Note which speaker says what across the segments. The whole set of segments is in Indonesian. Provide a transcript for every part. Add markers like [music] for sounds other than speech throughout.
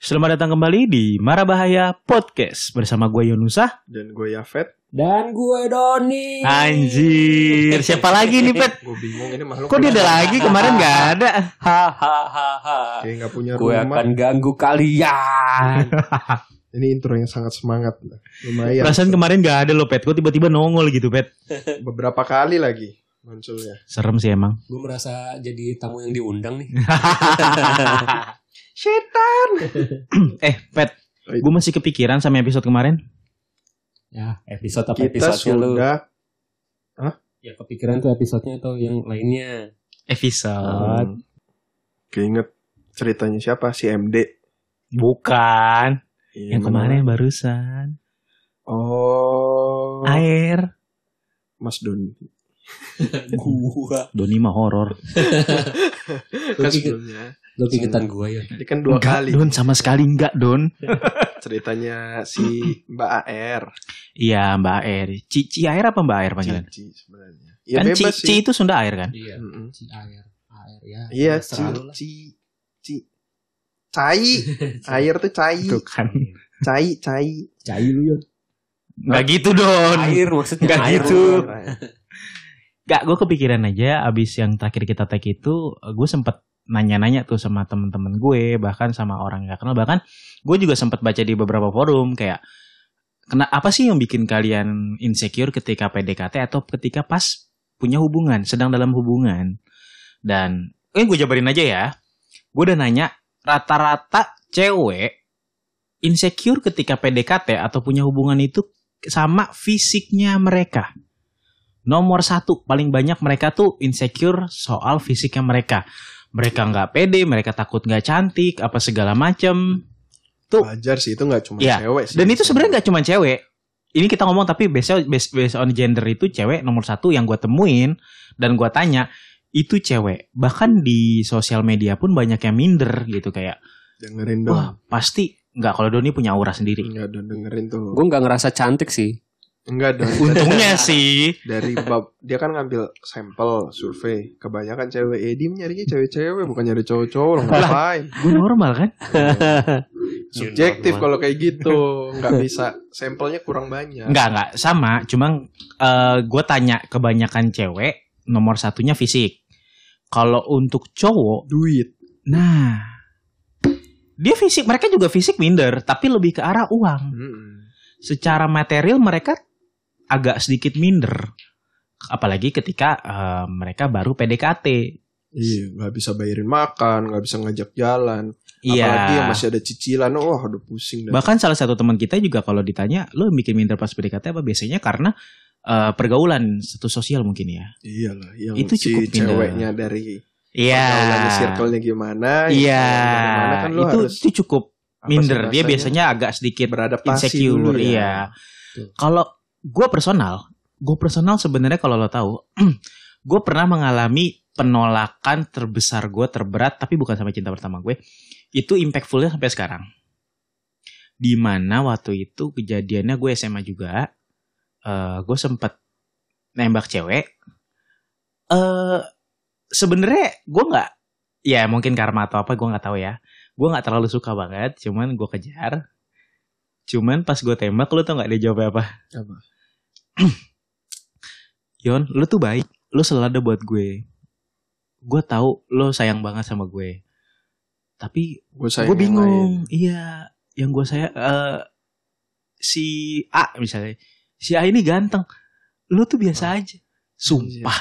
Speaker 1: Selamat datang kembali di Marabahaya Podcast bersama gue Yonusah.
Speaker 2: dan gue Yafet
Speaker 3: Dan gue Doni.
Speaker 1: Anjir, siapa lagi nih Pet?
Speaker 2: gue bingung ini makhluk
Speaker 1: Kok dia ada
Speaker 2: kenapa?
Speaker 1: lagi kemarin nggak ada?
Speaker 3: Hahaha.
Speaker 2: kayak nggak punya
Speaker 3: Gue
Speaker 2: rumah
Speaker 3: akan ganggu kalian.
Speaker 2: ini intro yang sangat semangat lah. lumayan
Speaker 1: Perasaan kemarin nggak ada loh Pet, kok tiba-tiba nongol gitu Pet?
Speaker 2: beberapa kali lagi munculnya
Speaker 1: Serem sih emang.
Speaker 3: gue merasa jadi tamu yang diundang nih.
Speaker 2: setan
Speaker 1: eh Pet, gue masih kepikiran sama episode kemarin.
Speaker 3: Ya, episode apa
Speaker 2: kita
Speaker 3: episode lu?
Speaker 2: sudah
Speaker 3: Ya kepikiran tuh episodenya atau yang lainnya.
Speaker 1: Episode?
Speaker 2: um, keinget ceritanya siapa si MD
Speaker 1: Bukan.
Speaker 2: Iya,
Speaker 1: Yang
Speaker 2: mana?
Speaker 1: kemarin barusan.
Speaker 2: oh
Speaker 1: Air.
Speaker 2: Mas Doni
Speaker 3: gua.
Speaker 1: Doni mah horor.
Speaker 2: kan
Speaker 3: pikir-
Speaker 2: sebelumnya
Speaker 3: Lu pingetan gua ya.
Speaker 2: ini kan dua kali
Speaker 1: Don sama sekali enggak Don.
Speaker 2: ceritanya si Mbak AR
Speaker 1: Iya Mbak Air. Cici air apa Mbak Air panggilan?
Speaker 2: Cici sebenarnya ya
Speaker 1: Kan
Speaker 2: bebas
Speaker 1: Cici
Speaker 2: sih
Speaker 1: itu Sunda Air kan?
Speaker 3: Iya.
Speaker 2: Mm-mm.
Speaker 3: Si air, air ya.
Speaker 2: Iya, ci,
Speaker 3: Selalu lah.
Speaker 2: ci, ci,
Speaker 1: [laughs]
Speaker 2: cai, air tuh cai,
Speaker 1: Itu kan.
Speaker 2: cai, cai.
Speaker 3: Cai lu ya.
Speaker 1: Enggak gitu
Speaker 2: Oh,
Speaker 1: Don.
Speaker 3: Air maksudnya
Speaker 1: Nggak
Speaker 3: air
Speaker 1: gitu.
Speaker 3: lu.
Speaker 1: Gak, gue kepikiran aja abis yang terakhir kita tag itu, gue sempet nanya-nanya tuh sama temen-temen gue, bahkan sama orang yang gak kenal, bahkan gue juga sempet baca di beberapa forum kayak, kena apa sih yang bikin kalian insecure ketika PDKT atau ketika pas punya hubungan, sedang dalam hubungan? Dan, eh gue jabarin aja ya, gue udah nanya, rata-rata cewek insecure ketika PDKT atau punya hubungan itu sama fisiknya mereka nomor satu paling banyak mereka tuh insecure soal fisiknya mereka mereka nggak pede mereka takut nggak cantik apa segala macem
Speaker 2: Wajar sih itu nggak cuma
Speaker 1: Iya.
Speaker 2: cewek sih.
Speaker 1: dan itu sebenarnya nggak cuma cewek ini kita ngomong tapi based on, based, based on gender itu cewek nomor satu yang gue temuin dan gue tanya itu cewek bahkan di sosial media pun banyak yang minder gitu kayak
Speaker 2: dengerin dong.
Speaker 1: wah pasti nggak kalau Doni punya aura sendiri
Speaker 2: Enggak dong dengerin tuh.
Speaker 3: Gua nggak ngerasa cantik sih.
Speaker 1: [laughs]
Speaker 2: Enggak dong.
Speaker 1: untungnya sih
Speaker 2: Dari bab dia kan ngambil sampel survei kebanyakan cewek Edi nyarinya cewek-cewek bukan nyari cowok-cowok lah ngapain
Speaker 1: gue normal kan
Speaker 2: subjektif kalau kayak gitu
Speaker 1: [laughs]
Speaker 2: nggak bisa sampelnya kurang banyak
Speaker 1: Enggak, enggak. Sama. Cuma gue tanya kebanyakan cewek, nomor satunya fisik. Kalau untuk cowok,
Speaker 2: duit
Speaker 1: nah. Dia fisik, mereka juga fisik minder. Tapi lebih ke arah uang.
Speaker 2: Mm-mm.
Speaker 1: Secara material mereka agak sedikit minder. Apalagi ketika eh, mereka baru PDKT.
Speaker 2: iya nggak bisa bayarin makan nggak bisa ngajak jalan Apalagi
Speaker 1: Iya.
Speaker 2: yang masih ada cicilan, wah udah pusing dah.
Speaker 1: Bahkan salah satu teman kita juga kalau ditanya, lo bikin minder pas PDKT apa? Biasanya karena eh, pergaulan status sosial mungkin ya.
Speaker 2: Iyalah, yang
Speaker 1: Itu
Speaker 2: si
Speaker 1: cukup minder.
Speaker 2: ceweknya dari
Speaker 1: Iya.
Speaker 2: pergaulannya circle-nya gimana?
Speaker 1: Iya,
Speaker 2: Mana kan lu
Speaker 1: itu
Speaker 2: harus
Speaker 1: itu cukup
Speaker 2: apa sih
Speaker 1: minder. Dia
Speaker 2: rasanya?
Speaker 1: biasanya agak sedikit
Speaker 2: beradaptasi
Speaker 1: insecure.
Speaker 2: dulu ya.
Speaker 1: Iya. Kalau gue personal, gue personal sebenarnya kalau lo tahu, [clears throat] gue pernah mengalami penolakan terbesar gue terberat, tapi bukan sama cinta pertama gue. Itu impactfulnya sampai sekarang. Dimana waktu itu kejadiannya gue SMA juga, eh, gue sempet nembak cewek. Eh, sebenarnya gue nggak, ya mungkin karma atau apa gue nggak tahu ya. Gue nggak terlalu suka banget, cuman gue kejar. Cuman pas gue tembak lu tau gak dia jawabnya apa?
Speaker 2: Apa?
Speaker 1: [clears throat] Yon, lu tuh baik. Lu selalu ada buat gue. Gue tahu lu sayang banget sama gue. Tapi
Speaker 2: Gue
Speaker 1: gue bingung. Iya, yang gue saya eh, si A misalnya. Si A ini ganteng. Lu tuh biasa aja. Sumpah.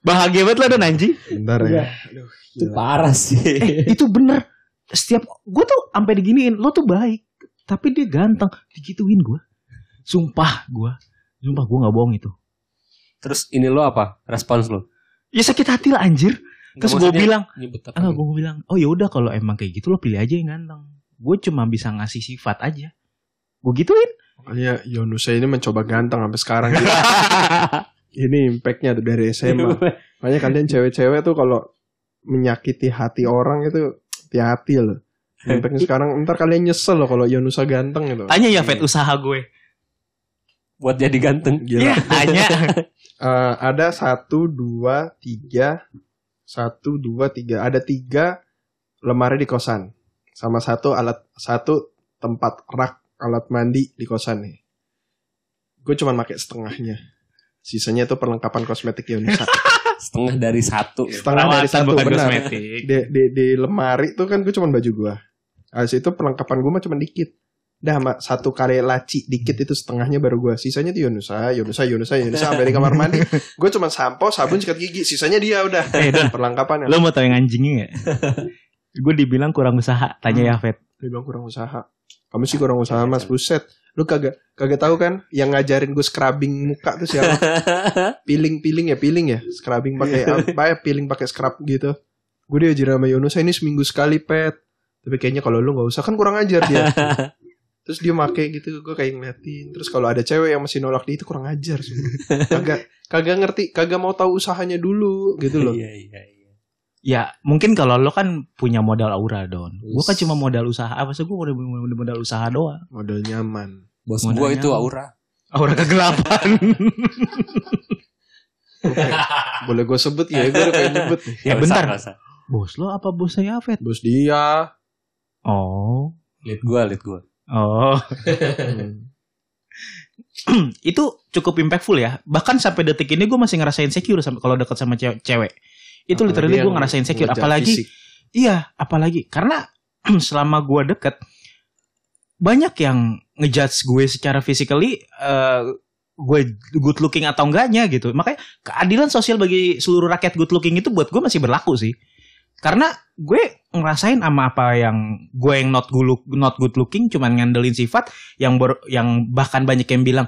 Speaker 1: [laughs] Bahagia banget lah dan anjing.
Speaker 2: Bentar
Speaker 3: Iya.
Speaker 2: ya. Aduh,
Speaker 3: Itu
Speaker 2: gila.
Speaker 3: parah sih.
Speaker 1: Eh, itu bener setiap gue tuh sampai diginiin lo tuh baik tapi dia ganteng digituin gue sumpah gue sumpah gue nggak bohong itu
Speaker 3: [laughs] Terus ini lo apa? Respons lo?
Speaker 1: ya sakit hati lah anjir terus gue bilang
Speaker 3: nyebut apa? gitu?
Speaker 1: enggak gue bilang oh ya udah kalau emang kayak gitu lo pilih aja yang ganteng gue cuma bisa ngasih sifat aja gue gituin
Speaker 2: Makanya Yonusa ini mencoba ganteng sampai
Speaker 1: [laughs]
Speaker 2: sekarang. Gila, ini impactnya tuh dari [laughs]
Speaker 1: Iya.
Speaker 2: SMA. Makanya kalian cewek-cewek tuh kalau menyakiti hati orang itu hati-hati
Speaker 1: [laughs]
Speaker 2: loh. Impactnya sekarang ntar kalian nyesel loh kalau Yonusa ganteng gitu.
Speaker 1: tanya ya Fet usaha gue
Speaker 3: buat jadi ganteng.
Speaker 2: Gila.
Speaker 1: Iya. [laughs] tanya
Speaker 2: Eh, ada satu dua tiga satu dua tiga ada tiga lemari di kosan sama satu alat satu tempat rak alat mandi di kosan nih. Gue cuma pakai setengahnya. Sisanya itu perlengkapan kosmetik Yonisa.
Speaker 3: Setengah dari satu.
Speaker 2: Setengah dari
Speaker 1: Perawatan,
Speaker 2: satu
Speaker 1: bukan
Speaker 2: benar.
Speaker 1: kosmetik.
Speaker 2: Di, di, di lemari tuh kan gue cuma baju gue. Habis itu perlengkapan gue mah cuma dikit. Dah sama satu kare laci dikit itu setengahnya baru gue. Sisanya tuh Yonusa, Yonusa, Yonusa, Yonusa sampai di kamar mandi. Gue cuma sampo, sabun, sikat gigi. Sisanya dia udah
Speaker 1: Eh, Don,
Speaker 2: perlengkapannya.
Speaker 1: lo mau tau yang [laughs] anjingnya gak? gue dibilang kurang usaha. Tanya ya, Fet.
Speaker 2: Dia bilang kurang usaha. Kamu sih kurang usaha mas, buset. Lu kagak kagak tahu kan yang ngajarin gue scrubbing muka tuh [laughs] siapa? Peeling-peeling ya, peeling ya. Scrubbing pakai apa ya? Peeling pakai scrub gitu. Gue diajarin sama Yunus "Eh, ini seminggu sekali pet. Tapi kayaknya kalau lu nggak usah kan kurang ajar [laughs] dia. Terus dia make gitu, gue kayak ngeliatin. Terus kalau ada cewek yang masih nolak dia itu kurang ajar. sumpah. Kagak kagak ngerti, kagak mau tahu usahanya dulu gitu loh.
Speaker 3: Iya, iya, iya.
Speaker 1: Ya, mungkin kalau lo kan punya modal aura, Don. Gue kan cuma modal usaha. Apa sih gue modal, modal, modal usaha doang?
Speaker 2: Model nyaman.
Speaker 3: Bos
Speaker 1: Modalnya
Speaker 3: gua itu
Speaker 1: apa?
Speaker 3: Aura.
Speaker 1: Aura kegelapan.
Speaker 2: Oke. Boleh gue sebut ya, gue udah pengen nyebut nih.
Speaker 1: ya,
Speaker 3: Nggak usah,
Speaker 1: bentar.
Speaker 3: nggak usah.
Speaker 1: Bos lo apa bos saya, Fet?
Speaker 2: Bos dia.
Speaker 1: Oh.
Speaker 3: Lihat gua, lihat gua. Gitu.
Speaker 1: Oh. [clears throat]
Speaker 2: Hmm.
Speaker 1: itu cukup impactful ya. Bahkan sampai detik ini gue masih ngerasain secure sama kalau dekat sama cewe- cewek. Itu
Speaker 2: Apalagi
Speaker 1: literally gue
Speaker 2: yang
Speaker 1: ngerasain secure.
Speaker 2: wajah
Speaker 1: Apalagi
Speaker 2: fisik.
Speaker 1: iya, apalagi karena [clears throat] selama gue deket banyak yang ngejudge gue secara physically eh, gue good looking atau enggaknya gitu. Makanya keadilan sosial bagi seluruh rakyat good looking itu buat gue masih berlaku sih. Karena gue ngerasain sama apa yang gue yang not good look- not good looking cuman ngandelin sifat yang ber- yang bahkan banyak yang bilang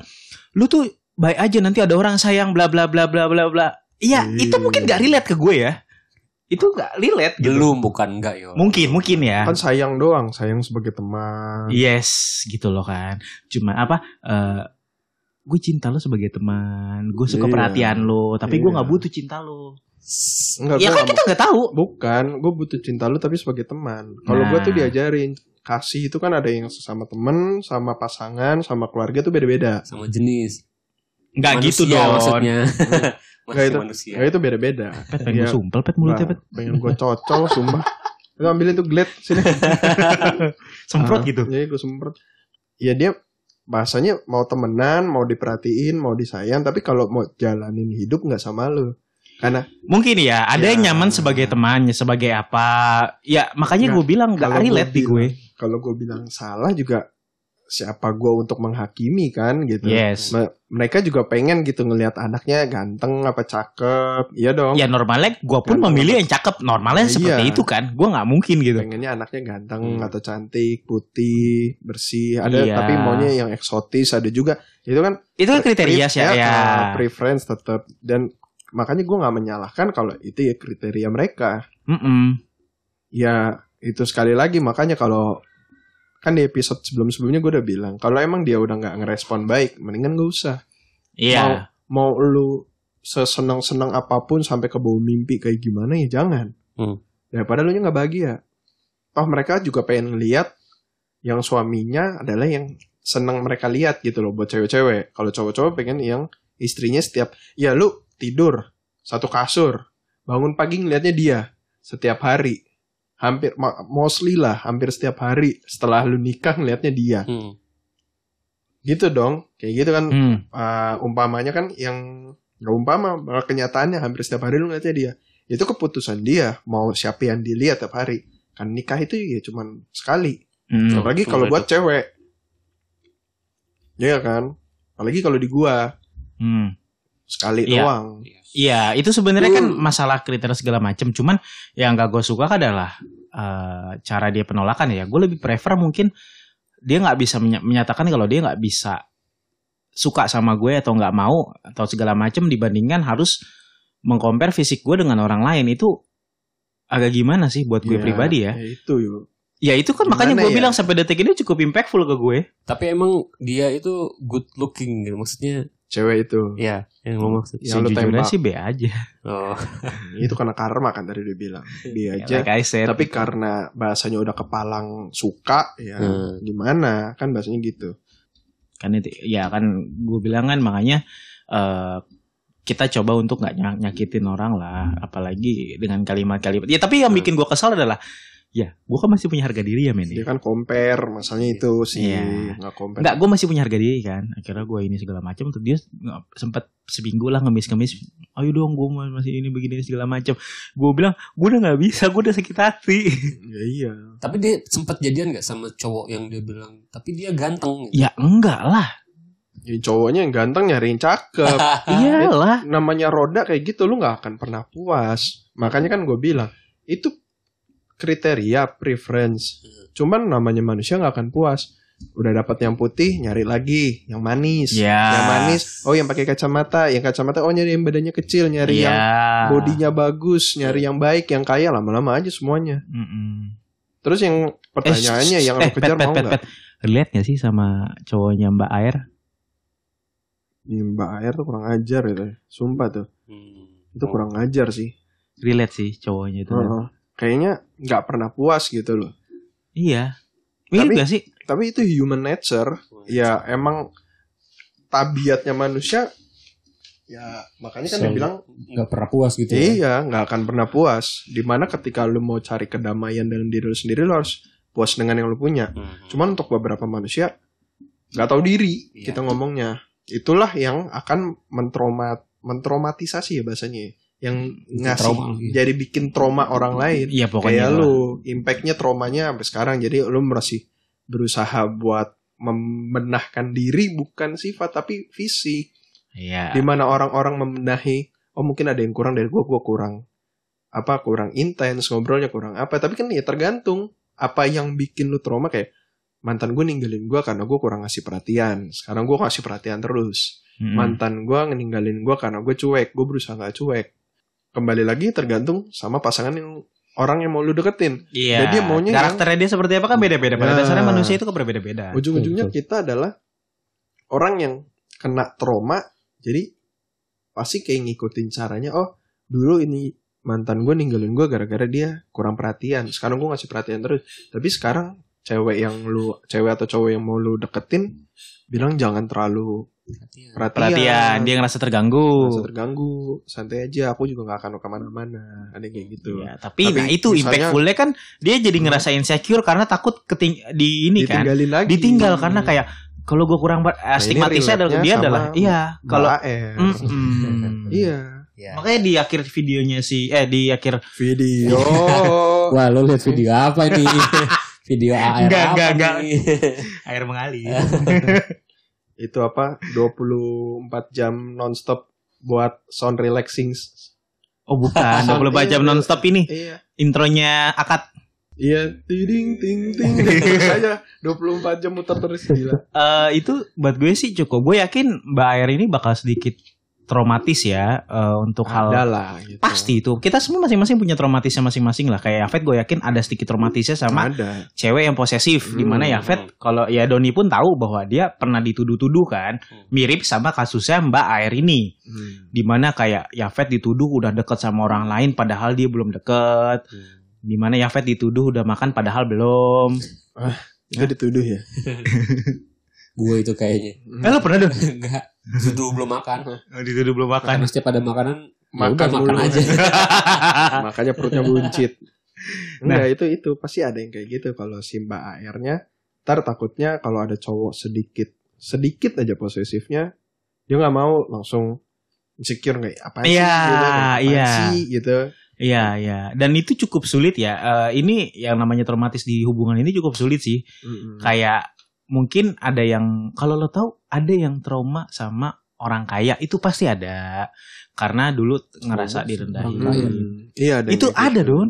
Speaker 1: lu tuh baik aja nanti ada orang sayang bla bla bla bla bla bla. Iya,
Speaker 2: Iya.
Speaker 1: itu mungkin gak relate ke gue ya. Itu gak relate gitu.
Speaker 3: Belum bukan enggak yo.
Speaker 1: Mungkin mungkin ya.
Speaker 2: kan sayang doang, sayang sebagai teman.
Speaker 1: Yes, gitu loh kan. Cuma apa? eh gue cinta lo sebagai teman, gue suka
Speaker 2: Iya.
Speaker 1: perhatian lo, tapi gue
Speaker 2: Iya.
Speaker 1: nggak butuh cinta lo.
Speaker 2: Enggak,
Speaker 1: ya
Speaker 2: gua
Speaker 1: kan
Speaker 2: nggak
Speaker 1: kita nggak tahu.
Speaker 2: mau- bukan, gue butuh cinta lu tapi sebagai teman. Kalau gue tuh
Speaker 1: Nah.
Speaker 2: diajarin kasih itu kan ada yang sesama temen, sama pasangan, sama keluarga tuh beda-beda.
Speaker 3: Sama jenis.
Speaker 1: Nggak
Speaker 3: Manusia
Speaker 1: gitu dong.
Speaker 3: Maksudnya.
Speaker 2: Nggak
Speaker 3: Masih
Speaker 2: itu.
Speaker 3: manusia.
Speaker 2: Ya itu beda-beda.
Speaker 1: Pet pengen
Speaker 2: Iya.
Speaker 1: gue sumpel, pet mulutnya
Speaker 2: Nah,
Speaker 1: pet [laughs]
Speaker 2: pengen gue cocol, [laughs] sumpah. Lu ambilin tuh glad sini.
Speaker 1: [laughs] semprot
Speaker 2: Ah,
Speaker 1: gitu.
Speaker 2: Iya, gue semprot. Ya dia bahasanya mau temenan, mau diperhatiin, mau disayang, tapi kalau mau jalanin hidup nggak sama lu. Karena
Speaker 1: Mungkin ya, ada yang
Speaker 2: Iya.
Speaker 1: nyaman sebagai temannya, sebagai apa? Ya makanya
Speaker 2: Nggak,
Speaker 1: gue bilang
Speaker 2: kalau
Speaker 1: nggak
Speaker 2: gua
Speaker 1: relate di gue.
Speaker 2: kalau gue bilang salah juga siapa gue untuk menghakimi kan gitu.
Speaker 1: Yes.
Speaker 2: Me- mereka juga pengen gitu ngelihat anaknya ganteng apa cakep, iya dong.
Speaker 1: Ya normalnya gue pun
Speaker 2: Nggak,
Speaker 1: memilih yang cakep. Normalnya
Speaker 2: Iya.
Speaker 1: seperti itu kan. Gue nggak mungkin gitu.
Speaker 2: Pengennya anaknya
Speaker 1: Hmm.
Speaker 2: ganteng atau cantik, putih, bersih. Ada
Speaker 1: Iya.
Speaker 2: tapi maunya yang eksotis ada juga. Itu kan
Speaker 1: Itu kan kriteria
Speaker 2: pre-
Speaker 1: sih ya.
Speaker 2: eh, preference tetap dan makanya gue nggak menyalahkan kalau itu ya kriteria mereka.
Speaker 1: Mm-mm.
Speaker 2: Ya itu sekali lagi makanya kalau kan di episode sebelum-sebelumnya gue udah bilang kalau emang dia udah nggak ngerespon baik mendingan gak usah
Speaker 1: Iya.
Speaker 2: Mau- mau lu sesenang-senang apapun sampai ke bawah mimpi kayak gimana ya jangan.
Speaker 3: Hmm.
Speaker 2: Daripada lu nya nggak bahagia. Toh mereka juga pengen lihat yang suaminya adalah yang senang mereka lihat gitu loh buat cewek-cewek. Kalau cowok-cowok pengen yang istrinya setiap ya lu tidur satu kasur, bangun pagi ngelihatnya dia setiap hari. Hampir mo- mostly lah, hampir setiap hari setelah lu nikah ngelihatnya dia.
Speaker 3: Hmm.
Speaker 2: Gitu dong. Kayak gitu kan
Speaker 1: Hmm.
Speaker 2: Uh, umpamanya kan yang nggak umpama malah kenyataannya hampir setiap hari lu ngeliatnya dia itu keputusan dia mau siapa yang dilihat tiap hari kan nikah itu ya cuman sekali
Speaker 1: Hmm.
Speaker 2: apalagi
Speaker 3: cuma
Speaker 2: kalau
Speaker 3: ada
Speaker 2: buat cewek Iya kan apalagi kalau di gua
Speaker 1: Hmm.
Speaker 2: sekali
Speaker 1: Iya.
Speaker 2: doang
Speaker 1: Iya, itu sebenarnya kan
Speaker 2: Hmm.
Speaker 1: masalah kriteria segala macam. Cuman yang gak gue suka adalah eh, cara dia penolakan ya. Gue lebih prefer mungkin dia nggak bisa menya- menyatakan kalau dia nggak bisa suka sama gue atau nggak mau atau segala macam dibandingkan harus mengcompare fisik gue dengan orang lain itu agak gimana sih buat gue
Speaker 2: Iya,
Speaker 1: pribadi ya?
Speaker 2: itu yuk
Speaker 1: Ya itu kan makanya
Speaker 2: Gimana
Speaker 1: gue
Speaker 2: ya?
Speaker 1: bilang sampai detik ini cukup impactful ke gue.
Speaker 3: Tapi emang dia itu good looking gitu. Maksudnya
Speaker 2: cewek itu
Speaker 3: ya yang lo maksud.
Speaker 1: Iya.
Speaker 2: Yang lu
Speaker 1: Sejujurnya
Speaker 2: tembak.
Speaker 1: sih B aja.
Speaker 3: Oh.
Speaker 2: itu karena karma kan tadi dia bilang
Speaker 1: Iya.
Speaker 2: dia aja
Speaker 1: Like I said.
Speaker 2: tapi karena bahasanya udah kepalang suka ya
Speaker 3: Hmm.
Speaker 2: gimana kan bahasanya gitu
Speaker 1: kan itu ya kan gue bilang kan makanya eh kita coba
Speaker 2: Hmm.
Speaker 1: untuk nggak nyak- nyakitin orang lah apalagi dengan kalimat-kalimat ya tapi yang bikin gue kesal adalah ya gue kan masih punya harga diri ya men
Speaker 2: Dia kan compare, masalahnya itu sih.
Speaker 1: Iya.
Speaker 2: Nggak compare.
Speaker 1: Enggak, gue masih punya harga diri kan. Akhirnya gue ini segala macam. Terus dia sempat seminggu lah ngemis-ngemis. Ayo dong, gue masih ini begini segala macam. Gue bilang, gue udah nggak bisa, gue udah sakit hati.
Speaker 2: Ya iya.
Speaker 3: Tapi dia sempat jadian nggak sama cowok yang dia bilang, tapi dia ganteng. gitu.
Speaker 1: ya enggak lah,
Speaker 2: Ya, cowoknya yang ganteng nyariin cakep.
Speaker 1: Iya.
Speaker 3: [laughs]
Speaker 1: iyalah.
Speaker 2: Namanya roda kayak gitu lu nggak akan pernah puas. Makanya kan gue bilang itu kriteria preference. Cuman namanya manusia nggak akan puas. Udah dapat yang putih, nyari lagi yang manis.
Speaker 1: Ya.
Speaker 2: Yang manis, oh yang pakai kacamata, yang kacamata oh nyari yang badannya kecil,
Speaker 1: Iya.
Speaker 2: nyari yang bodinya bagus, nyari yang baik, yang kaya lama-lama aja semuanya.
Speaker 1: Mm-mm.
Speaker 2: Terus yang
Speaker 1: Eh,
Speaker 2: pertanyaannya
Speaker 1: shh,
Speaker 2: yang
Speaker 1: eh,
Speaker 2: lu kejar
Speaker 1: pet, pet,
Speaker 2: mau
Speaker 1: pet,
Speaker 2: nggak?
Speaker 1: pet. Relate nggak sih sama cowoknya Mbak Air?
Speaker 2: Ih, Mbak Air tuh kurang ajar itu, sumpah tuh.
Speaker 3: Hmm.
Speaker 2: Itu kurang ajar sih.
Speaker 1: Relate sih cowoknya itu.
Speaker 2: Heeh. Kayaknya nggak pernah puas gitu loh.
Speaker 1: Iya. Mirip
Speaker 2: Tapi-
Speaker 1: gak sih?
Speaker 2: Tapi itu human nature. Ya emang tabiatnya manusia. Ya makanya kan
Speaker 3: Selalu.
Speaker 2: dibilang
Speaker 3: nggak pernah puas gitu. ya.
Speaker 2: iya nggak akan pernah puas. Dimana ketika lu mau cari kedamaian dalam diri lu sendiri lu harus puas dengan yang lu punya.
Speaker 3: Hmm.
Speaker 2: Cuman untuk beberapa manusia nggak tahu diri
Speaker 3: Iya.
Speaker 2: kita ngomongnya. Itulah yang akan mentraumat mentraumatisasi ya bahasanya. ya. Yang ngasih
Speaker 3: Trauma.
Speaker 2: jadi bikin trauma orang lain.
Speaker 1: Iya pokoknya.
Speaker 2: kayak
Speaker 1: lah.
Speaker 2: lu impactnya traumanya sampai sekarang jadi lu masih berusaha buat membenahkan diri bukan sifat tapi fisik
Speaker 1: Iya.
Speaker 2: dimana orang-orang membenahi oh mungkin ada yang kurang dari gua gua kurang apa kurang intens ngobrolnya kurang apa tapi kan ya tergantung apa yang bikin lu trauma kayak mantan gue ninggalin gua karena gue kurang ngasih perhatian sekarang gua ngasih perhatian terus
Speaker 1: Mm-mm.
Speaker 2: mantan gue ninggalin gue karena gue cuek gue berusaha nggak cuek kembali lagi tergantung sama pasangan yang orang yang mau lu deketin
Speaker 1: Iya.
Speaker 2: Jadi maunya yang-
Speaker 1: karakternya dia seperti apa kan beda-beda. Pada
Speaker 2: Nah. Oh,
Speaker 1: dasarnya manusia itu kan berbeda-beda.
Speaker 2: ujung-ujungnya
Speaker 3: betul.
Speaker 2: kita adalah orang yang kena trauma jadi pasti kayak ngikutin caranya oh dulu ini mantan gue ninggalin gue gara-gara dia kurang perhatian sekarang gue ngasih perhatian terus tapi sekarang cewek yang lu cewek atau cowok yang mau lu deketin bilang jangan terlalu
Speaker 3: Perhatian.
Speaker 1: Perhatian, dia ngerasa terganggu.
Speaker 2: iya. Ngerasa terganggu santai aja aku juga nggak akan kemana-mana ada yang kayak gitu
Speaker 1: Ya, tapi,
Speaker 2: Tapi
Speaker 1: nah itu
Speaker 2: misalnya- Hmm.
Speaker 1: impactfulnya kan dia jadi ngerasa insecure karena takut keting di ini kan
Speaker 2: ditinggalin lagi
Speaker 1: ditinggal karena kayak kalau gue kurang ber- eh,
Speaker 2: ini
Speaker 1: stigmatisnya adalah
Speaker 2: relate-nya
Speaker 1: dia
Speaker 2: sama
Speaker 1: adalah iya
Speaker 2: Mbak
Speaker 1: kalau Hmm.
Speaker 2: R.
Speaker 1: Mm-mm.
Speaker 2: er. iya
Speaker 3: Ya.
Speaker 1: makanya di akhir videonya si eh di akhir Iya. [laughs]
Speaker 2: video
Speaker 3: Wah, lo lihat video apa ini? [laughs] video AR
Speaker 1: Nggak,
Speaker 3: apa
Speaker 1: nggak, nggak.
Speaker 3: nih? [laughs]
Speaker 1: air mengalir
Speaker 2: Iya. itu apa 24 jam nonstop buat sound relaxing
Speaker 1: oh bukan
Speaker 2: [laughs]
Speaker 1: 24 jam nonstop ini
Speaker 2: iya
Speaker 1: intronya akad
Speaker 2: iya tiding ting ting terus aja 24 jam muter terus gila
Speaker 1: Eh, itu buat gue sih cukup gue yakin mbak air ini bakal sedikit traumatis ya eh, untuk hal
Speaker 2: ada lah gitu.
Speaker 1: pasti itu kita semua masing-masing punya traumatisnya masing-masing lah kayak Yafet gue yakin ada sedikit traumatisnya sama
Speaker 2: ada
Speaker 1: cewek yang posesif
Speaker 2: Hmm.
Speaker 1: dimana ya Fed kalau ya Doni pun tahu bahwa dia pernah dituduh-tuduh kan
Speaker 3: Hmm.
Speaker 1: mirip sama kasusnya Mbak Air ini
Speaker 2: Hmm.
Speaker 1: dimana kayak Yafet dituduh udah deket sama orang lain padahal dia belum deket dimana Yafet dituduh udah makan padahal belum
Speaker 2: itu dituduh ya
Speaker 3: Gue itu kayaknya.
Speaker 1: eh lo pernah dong
Speaker 3: Enggak. Dulu Iya. belum makan.
Speaker 1: Oh, dituduh belum makan
Speaker 3: Habisnya pada makanan ya
Speaker 2: Kan. makan
Speaker 3: udah, makan
Speaker 2: dulu [laughs]
Speaker 3: aja.
Speaker 2: makanya perutnya buncit.
Speaker 3: Nah.
Speaker 2: Enggak itu itu pasti ada yang kayak gitu kalau si Mbak AR-nya ntar takutnya kalau ada cowok sedikit sedikit aja posesifnya dia nggak mau langsung insecure kayak apa sih
Speaker 1: Iya,
Speaker 2: gitu, kayak apaan
Speaker 1: iya.
Speaker 2: sih?" gitu.
Speaker 1: iya iya dan itu cukup sulit ya Eh, ini yang namanya traumatis di hubungan ini cukup sulit sih kayak mungkin ada yang kalau lo tahu ada yang trauma sama orang kaya itu pasti ada karena dulu ngerasa
Speaker 3: Trauma sih,
Speaker 1: direndahin
Speaker 3: orang kaya.
Speaker 2: Mm-mm. Iya ada yang
Speaker 1: itu
Speaker 2: kayak
Speaker 1: ada
Speaker 2: gitu.
Speaker 1: don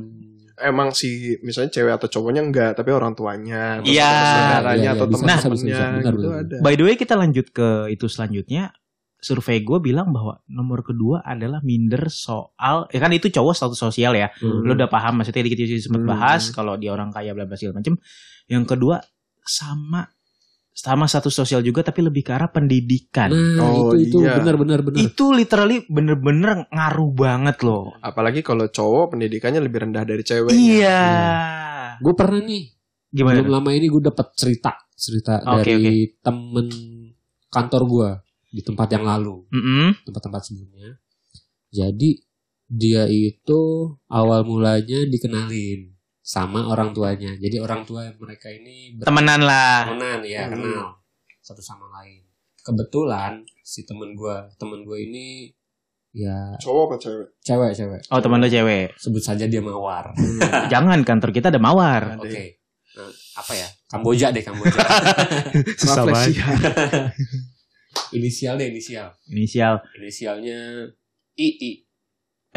Speaker 2: Emang si misalnya cewek atau cowoknya enggak tapi orang tuanya, atau
Speaker 1: Iya.
Speaker 2: saudaranya
Speaker 3: Iya,
Speaker 2: atau
Speaker 3: iya, bisa,
Speaker 2: teman
Speaker 3: bisa, bisa,
Speaker 2: temannya
Speaker 3: bisa. Benar,
Speaker 2: gitu
Speaker 3: benar.
Speaker 2: ada.
Speaker 1: by the way kita lanjut ke itu selanjutnya survei gue bilang bahwa nomor kedua adalah minder soal ya kan itu cowok status sosial ya lo udah paham maksudnya dikit dikit sempat
Speaker 2: Hmm.
Speaker 1: bahas kalau dia orang kaya bla bla segala macem yang kedua sama sama status sosial juga tapi lebih ke arah pendidikan
Speaker 3: Nah,
Speaker 2: Oh,
Speaker 3: itu itu
Speaker 2: iya.
Speaker 3: benar benar benar.
Speaker 1: itu literally bener-bener ngaruh banget loh
Speaker 2: Apalagi kalau cowok pendidikannya lebih rendah dari cewek.
Speaker 1: Iya.
Speaker 3: Gue pernah nih
Speaker 1: Gimana?
Speaker 3: belum lama ini gue dapet cerita cerita
Speaker 1: Oke,
Speaker 3: dari temen kantor gue di tempat yang lalu
Speaker 1: Mm-mm.
Speaker 3: tempat-tempat sebelumnya jadi dia itu awal mulanya dikenalin sama orang tuanya. Jadi orang tua mereka ini ber-
Speaker 1: Temenan lah.
Speaker 3: temenan ya
Speaker 2: Hmm.
Speaker 3: kenal satu sama lain kebetulan si temen gua temen gua ini ya
Speaker 2: Cowok apa cewek?
Speaker 3: cewek cewek
Speaker 1: Oh teman lo cewek.
Speaker 3: sebut saja dia mawar
Speaker 2: Hmm.
Speaker 1: Jangan kantor kita ada mawar.
Speaker 3: oke Nah, apa ya Kamboja deh [laughs] Kamboja
Speaker 1: Susah banget.
Speaker 2: Refleksi.
Speaker 3: inisial deh inisial
Speaker 1: Inisial.
Speaker 3: inisialnya II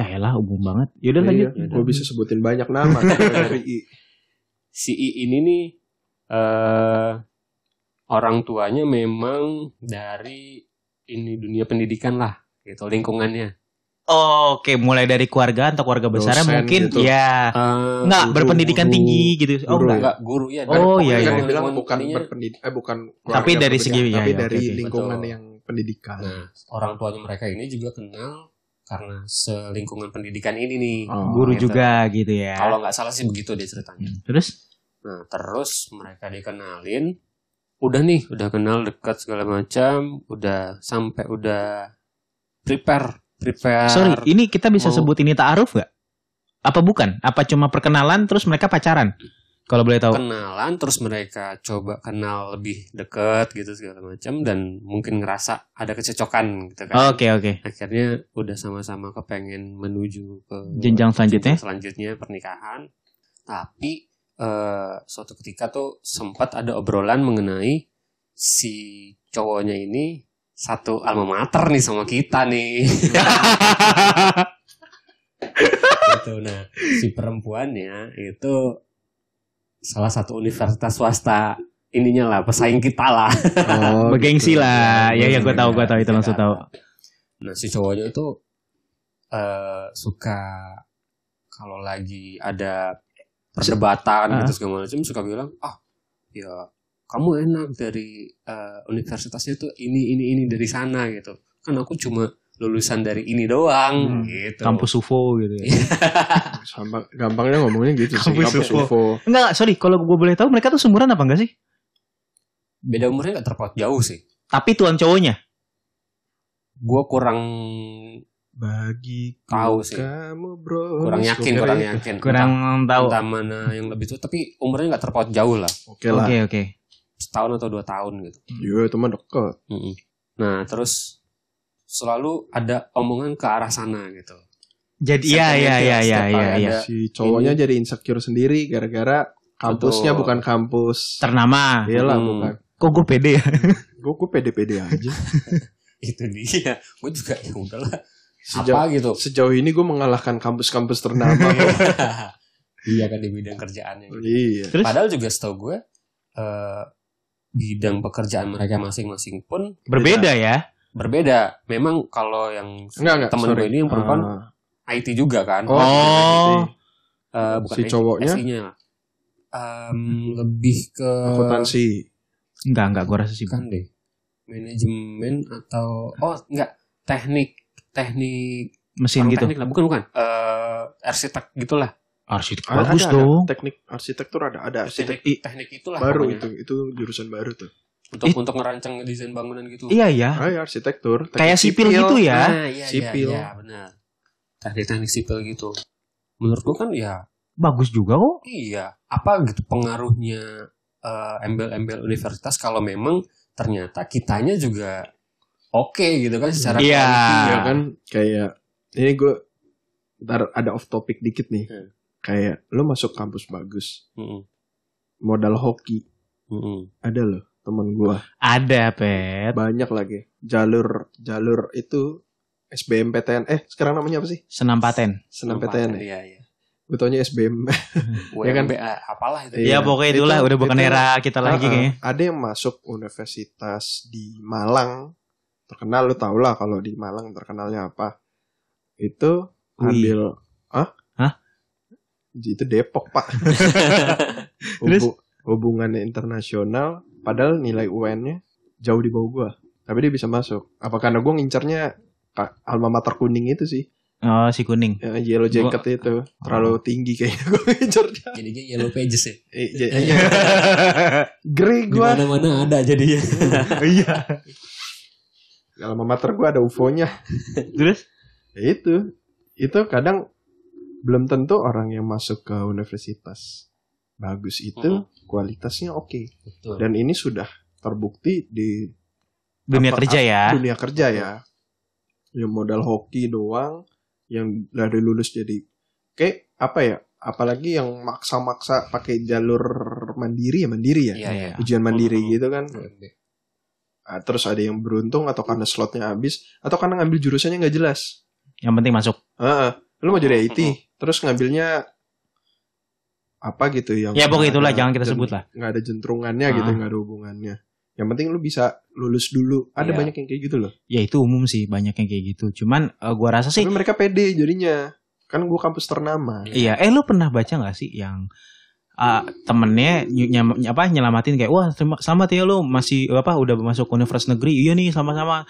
Speaker 1: Eh lah umum banget. Yaudah
Speaker 2: Iya,
Speaker 1: lanjut.
Speaker 2: gue bisa sebutin banyak nama kan,
Speaker 1: Iya,
Speaker 2: dari I.
Speaker 3: si I ini nih eh orang tuanya memang dari ini dunia pendidikan lah gitu lingkungannya
Speaker 1: Oh, Oke, mulai dari keluarga atau keluarga besarnya
Speaker 2: Dosen
Speaker 1: mungkin
Speaker 2: gitu.
Speaker 1: ya.
Speaker 3: Eh,
Speaker 1: Enggak
Speaker 2: guru,
Speaker 1: berpendidikan
Speaker 2: guru,
Speaker 1: tinggi gitu. Oh
Speaker 2: guru
Speaker 1: enggak.
Speaker 3: enggak guru ya
Speaker 1: Oh, iya,
Speaker 2: kan
Speaker 1: iya.
Speaker 2: dibilang
Speaker 3: Lingkungan
Speaker 2: bukan
Speaker 3: ininya.
Speaker 2: berpendid eh bukan
Speaker 1: Tapi
Speaker 2: keluarga
Speaker 1: dari
Speaker 2: berpendidikan,
Speaker 1: segi- iya,
Speaker 2: tapi
Speaker 1: iya, oke,
Speaker 2: dari
Speaker 1: oke.
Speaker 2: lingkungan
Speaker 3: Betul.
Speaker 2: yang pendidikan.
Speaker 3: Nah, orang tuanya mereka ini juga kenal karena selingkungan pendidikan ini nih.
Speaker 2: Oh,
Speaker 1: Guru
Speaker 3: gitu.
Speaker 1: juga gitu ya.
Speaker 3: Kalau nggak salah sih begitu dia ceritanya.
Speaker 1: Hmm, Terus
Speaker 3: Nah, terus mereka dikenalin. Udah nih, udah kenal dekat segala macam, udah sampai udah prepare, prepare.
Speaker 1: Sorry, ini kita bisa
Speaker 3: mau-
Speaker 1: sebut ini ta'aruf nggak? Apa bukan? Apa cuma perkenalan terus mereka pacaran? Kalau boleh tahu.
Speaker 3: kenalan terus mereka coba kenal lebih dekat gitu segala macam dan mungkin ngerasa ada kecocokan gitu kan.
Speaker 1: Oke, oke.
Speaker 3: akhirnya udah sama-sama kepengen menuju ke
Speaker 1: Jenjang selanjutnya?
Speaker 3: jenjang selanjutnya pernikahan tapi eh, suatu ketika tuh sempat ada obrolan mengenai si cowoknya ini satu alma mater nih sama kita
Speaker 1: [laughs]
Speaker 3: nih gitu nah si perempuannya itu salah satu universitas swasta ininya lah pesaing kita lah
Speaker 2: Oh,
Speaker 1: Bergengsi
Speaker 2: gitu.
Speaker 1: lah. Ya, ya gue tahu, gue tahu itu
Speaker 3: Iya,
Speaker 1: langsung
Speaker 3: iya.
Speaker 1: tahu.
Speaker 3: Nah si cowoknya itu eh suka kalau lagi ada
Speaker 1: Ah.
Speaker 3: perdebatan gitu segala macam suka bilang ah ya kamu enak dari eh, universitasnya tuh ini ini ini dari sana gitu kan aku cuma lulusan dari ini doang
Speaker 1: Hmm,
Speaker 3: gitu
Speaker 1: Kampus UFO gitu ya.
Speaker 2: Sama- gampangnya ngomongnya gitu sih.
Speaker 1: Kampus
Speaker 2: Kampus
Speaker 1: UFO.
Speaker 2: UFO.
Speaker 1: Enggak, enggak, sorry. Kalau gue boleh tahu mereka tuh seumuran apa enggak sih?
Speaker 3: beda umurnya nggak terpaut jauh sih
Speaker 1: Tapi tuan cowoknya.
Speaker 3: gue kurang
Speaker 2: Bagi
Speaker 3: Tahu sih.
Speaker 2: kamu bro.
Speaker 3: kurang yakin kurang yakin
Speaker 1: Kurang tahu.
Speaker 3: entah, entah mana yang lebih tua tapi umurnya nggak terpaut jauh lah
Speaker 2: Oke lah.
Speaker 1: Oke, oke.
Speaker 3: setahun atau dua tahun gitu
Speaker 2: Iya itu mah deket.
Speaker 3: Mm-mm. Nah terus selalu ada omongan ke arah sana gitu. [laughs]
Speaker 1: Jadi iya,
Speaker 3: Setiap
Speaker 1: iya, iya,
Speaker 3: media,
Speaker 1: iya,
Speaker 3: setiap
Speaker 1: iya,
Speaker 3: ada
Speaker 1: iya.
Speaker 2: Si cowoknya jadi insecure sendiri gara-gara kampusnya
Speaker 3: Betul.
Speaker 2: bukan kampus.
Speaker 1: Ternama.
Speaker 2: Iyalah
Speaker 3: Hmm.
Speaker 2: bukan.
Speaker 1: Kok gue pede ya?
Speaker 2: Gue gue pede-pede aja.
Speaker 3: Itu dia. Gue juga ya udahlah.
Speaker 2: Sejauh,
Speaker 3: Apa gitu?
Speaker 2: sejauh ini gue mengalahkan kampus-kampus ternama. kok.
Speaker 3: Iya kan di bidang kerjaannya.
Speaker 2: iya.
Speaker 1: Terus
Speaker 3: Padahal juga setahu gue eh, bidang pekerjaan mereka masing-masing pun
Speaker 1: berbeda ya.
Speaker 3: berbeda. Memang kalau yang
Speaker 2: Enggak enggak.
Speaker 3: Temen
Speaker 2: sorry.
Speaker 3: gue ini yang perempuan.
Speaker 2: Ah.
Speaker 3: IT juga kan.
Speaker 2: Oh,
Speaker 1: Oh.
Speaker 3: Eh, bukan
Speaker 2: si
Speaker 3: IT,
Speaker 2: cowoknya?
Speaker 3: SI-nya lah. Em, lebih ke
Speaker 2: akuntansi.
Speaker 1: Enggak, enggak gue rasa sih.
Speaker 3: bukan deh manajemen atau oh enggak teknik teknik
Speaker 1: Mesin
Speaker 3: Orang
Speaker 1: gitu.
Speaker 3: teknik lah, bukan bukan. Eh arsitek gitulah.
Speaker 1: Arsitek
Speaker 2: Ada-
Speaker 1: bagus
Speaker 2: ada-
Speaker 1: dong.
Speaker 2: Ada, teknik arsitektur ada ada arsitek
Speaker 3: Teknik, teknik itulah
Speaker 2: iya. baru
Speaker 3: pokoknya.
Speaker 2: itu itu jurusan baru tuh.
Speaker 3: Untuk
Speaker 1: Ih.
Speaker 3: untuk ngerancang desain bangunan gitu.
Speaker 1: Iya, iya.
Speaker 2: Ah, ya, arsitektur. teknik
Speaker 1: Kayak sipil gitu ya.
Speaker 3: Nah, iya,
Speaker 2: Sipil.
Speaker 3: Iya, iya, benar. Teknik-teknik sipil gitu. Menurut gua kan ya
Speaker 1: Bagus juga kok.
Speaker 3: iya, apa gitu pengaruhnya eh, embel-embel universitas kalau memang ternyata kitanya juga oke gitu kan secara
Speaker 1: Iya.
Speaker 2: Ya
Speaker 3: quality,
Speaker 2: kan kayak ini gue ntar ada off topic dikit nih.
Speaker 3: Hmm.
Speaker 2: Kayak lu masuk kampus bagus,
Speaker 3: Mm-mm,
Speaker 2: modal hoki
Speaker 3: mm-mm.
Speaker 2: ada loh temen gua
Speaker 1: Ada, Pet.
Speaker 2: banyak lagi jalur jalur itu SBMPTN eh sekarang namanya apa sih
Speaker 1: Senam paten.
Speaker 2: senam PTN ya
Speaker 3: Iya, iya.
Speaker 2: gue taunya SBM Ya
Speaker 3: Ya kan
Speaker 2: kan?
Speaker 3: apalah
Speaker 1: Ya
Speaker 3: itu.
Speaker 2: Iya.
Speaker 1: pokoknya
Speaker 2: Itu-
Speaker 1: itulah udah bukan
Speaker 2: itu-
Speaker 1: era kita lagi
Speaker 2: Uh-uh.
Speaker 1: kayaknya.
Speaker 2: Ada yang masuk universitas di Malang. Terkenal lu tau lah kalau di Malang terkenalnya apa. Itu
Speaker 1: Ui.
Speaker 2: ambil Hah?
Speaker 1: Hah?
Speaker 2: Itu Depok,
Speaker 1: [laughs]
Speaker 2: Pak.
Speaker 1: Terus?
Speaker 2: Hubu- hubungannya internasional padahal nilai UN-nya jauh di bawah gua. Tapi dia bisa masuk. Apa karena gua ngincernya ka- alma mater kuning itu sih.
Speaker 1: Oh si kuning.
Speaker 2: Yang Ya, Yellow jacket itu terlalu
Speaker 1: Hmm.
Speaker 2: tinggi kayaknya gua ngincernya.
Speaker 3: Jadinya yellow pages ya.
Speaker 2: [laughs] Eh, iya, iya. [laughs] Grey
Speaker 3: Di
Speaker 2: gua.
Speaker 3: mana-mana ada jadinya.
Speaker 1: Iya.
Speaker 2: Alma mater gua ada UFO-nya.
Speaker 1: Terus
Speaker 2: Ya itu itu kadang belum tentu orang yang masuk ke universitas bagus
Speaker 1: Hmm.
Speaker 2: itu kualitasnya oke.
Speaker 3: Betul.
Speaker 2: Dan ini sudah terbukti di
Speaker 1: Dunia
Speaker 2: Apa-
Speaker 1: kerja ya.
Speaker 2: dunia kerja ya. Ya modal hoki doang yang dari lulus jadi kayak apa ya? Apalagi yang maksa-maksa pakai jalur mandiri ya mandiri ya.
Speaker 3: Iya, iya.
Speaker 2: Ujian mandiri
Speaker 1: Hmm.
Speaker 3: Mhm.
Speaker 2: gitu kan.
Speaker 1: iya.
Speaker 2: Ah, terus ada yang beruntung atau karena slotnya habis atau karena ngambil jurusannya nggak jelas.
Speaker 1: Yang penting masuk.
Speaker 2: Heeh. Lu mau jadi IT,
Speaker 3: Mhm.
Speaker 1: Hmm.
Speaker 2: terus ngambilnya apa gitu yang
Speaker 1: Ya pokoknya
Speaker 2: nggak
Speaker 1: itulah
Speaker 2: ada
Speaker 1: jangan kita
Speaker 2: jen-
Speaker 1: sebut lah.
Speaker 2: nggak ada jentrungannya gitu
Speaker 1: Ah.
Speaker 2: nggak ada hubungannya yang penting lu bisa lulus dulu ada
Speaker 3: Iya.
Speaker 2: banyak yang kayak gitu loh
Speaker 1: Ya itu umum sih banyak yang kayak gitu. Cuman eh, gua rasa sih
Speaker 2: Tapi mereka pede jadinya. Kan gue kampus ternama.
Speaker 1: Iya, eh lu pernah baca nggak sih yang ah, temennya ny- nyam- ny- apa nyelamatin kayak wah terima, selamat ya lu masih apa udah masuk universitas negeri iya nih sama-sama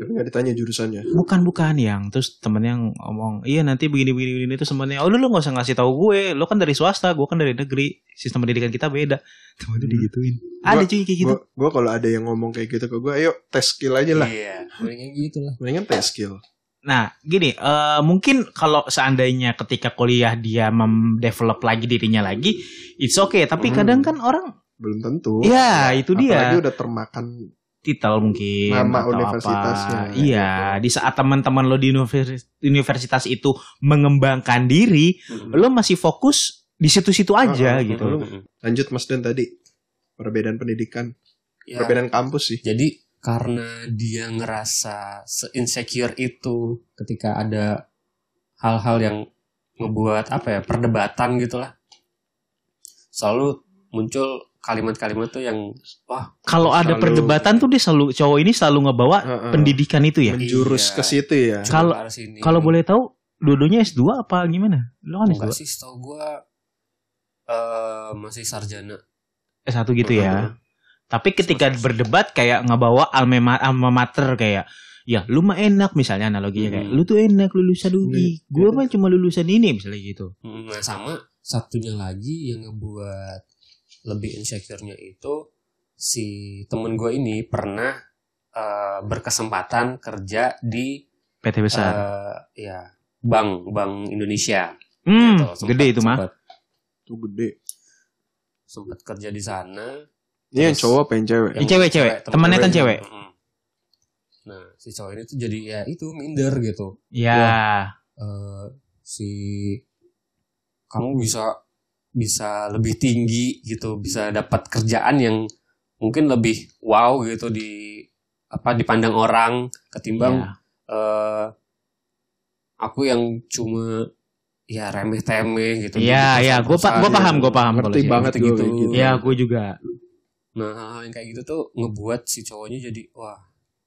Speaker 2: Tapi gak ditanya jurusannya.
Speaker 1: bukan bukan yang terus temennya yang ngomong iya nanti begini begini begini terus temennya oh lu lu nggak usah ngasih tahu gue lu kan dari swasta gue kan dari negeri sistem pendidikan kita beda temennya
Speaker 2: Hmm.
Speaker 1: digituin ada cuy kayak gitu
Speaker 2: Gue kalau ada yang ngomong kayak gitu ke gue, ayo tes skill aja lah.
Speaker 3: Iya, mendingan gitu lah.
Speaker 2: Mendingan tes skill.
Speaker 1: Nah, gini, eh, mungkin kalau seandainya ketika kuliah dia mendevelop lagi dirinya lagi, it's okay. Tapi
Speaker 2: Hmm.
Speaker 1: kadang kan orang,
Speaker 2: Belum tentu.
Speaker 1: ya itu dia.
Speaker 2: Apalagi udah termakan.
Speaker 1: titel mungkin
Speaker 2: Nama
Speaker 1: atau
Speaker 2: universitasnya. ya, gitu.
Speaker 1: apa. Iya, di saat teman-teman lo di univers- universitas itu mengembangkan diri, lo masih fokus di situ-situ aja
Speaker 2: Heeh,
Speaker 1: Hmm. gitu.
Speaker 2: heeh. Lanjut Mas Den tadi. Perbedaan pendidikan.
Speaker 3: Ya,
Speaker 2: Perbedaan kampus sih.
Speaker 3: Jadi karena dia ngerasa se-insecure itu ketika ada hal-hal yang ngebuat apa ya perdebatan gitulah selalu muncul kalimat-kalimat tuh yang wah
Speaker 1: Kalau ada
Speaker 2: Selalu-
Speaker 1: perdebatan tuh dia selalu cowok ini selalu ngebawa
Speaker 2: Heeh.
Speaker 1: pendidikan itu ya.
Speaker 2: Menjurus
Speaker 3: Iya.
Speaker 2: ke situ ya.
Speaker 1: Sa- Kalau-
Speaker 3: coba harus ini.
Speaker 1: Kalau boleh tahu dua-duanya S2 apa gimana? Lo kan
Speaker 3: enggak
Speaker 1: S2.
Speaker 3: sih setahu gua eh, masih sarjana
Speaker 1: S1 gitu ya. Tapi ketika berdebat kayak ngebawa alma ma- alma mater kayak Ya, lu mah enak misalnya analoginya kayak
Speaker 3: Hmm.
Speaker 1: lu tuh enak lulusan UI, gua mah cuma lulusan ini misalnya gitu.
Speaker 3: Mm, Nah sama satunya lagi yang ngebuat lebih insecure-nya itu si temen gue ini pernah eh, berkesempatan kerja di
Speaker 1: PT besar.
Speaker 3: eh, ya bank bank Indonesia.
Speaker 1: Hmm,
Speaker 3: Gitu, sempet-
Speaker 1: gede itu mah.
Speaker 3: sempet-
Speaker 2: Itu gede.
Speaker 3: sempet kerja di sana.
Speaker 2: Ini yang
Speaker 3: Terus-
Speaker 2: cowok pengen cewek.
Speaker 1: Yang cewek, cewek.
Speaker 3: temen
Speaker 1: Temannya kan
Speaker 3: ceweknya.
Speaker 1: cewek.
Speaker 3: Mm-mm. Nah si cowok ini tuh jadi ya itu minder gitu.
Speaker 1: Ya,
Speaker 3: eh si
Speaker 1: Hmm.
Speaker 3: kamu bisa bisa lebih tinggi gitu bisa dapat kerjaan yang mungkin lebih wow gitu di apa dipandang orang ketimbang
Speaker 1: ya.
Speaker 3: eh, aku yang cuma ya remeh temeh gitu
Speaker 1: Iya,
Speaker 3: Jadi
Speaker 1: iya, gua pa- gua
Speaker 3: perusahaan
Speaker 1: paham,
Speaker 3: yang-
Speaker 1: gua paham
Speaker 2: Ngerti
Speaker 1: kalau
Speaker 2: banget
Speaker 3: gitu.
Speaker 2: gue kayak gitu.
Speaker 1: Ya, gue juga.
Speaker 3: Nah hal-hal yang kayak gitu tuh ngebuat si cowoknya jadi wah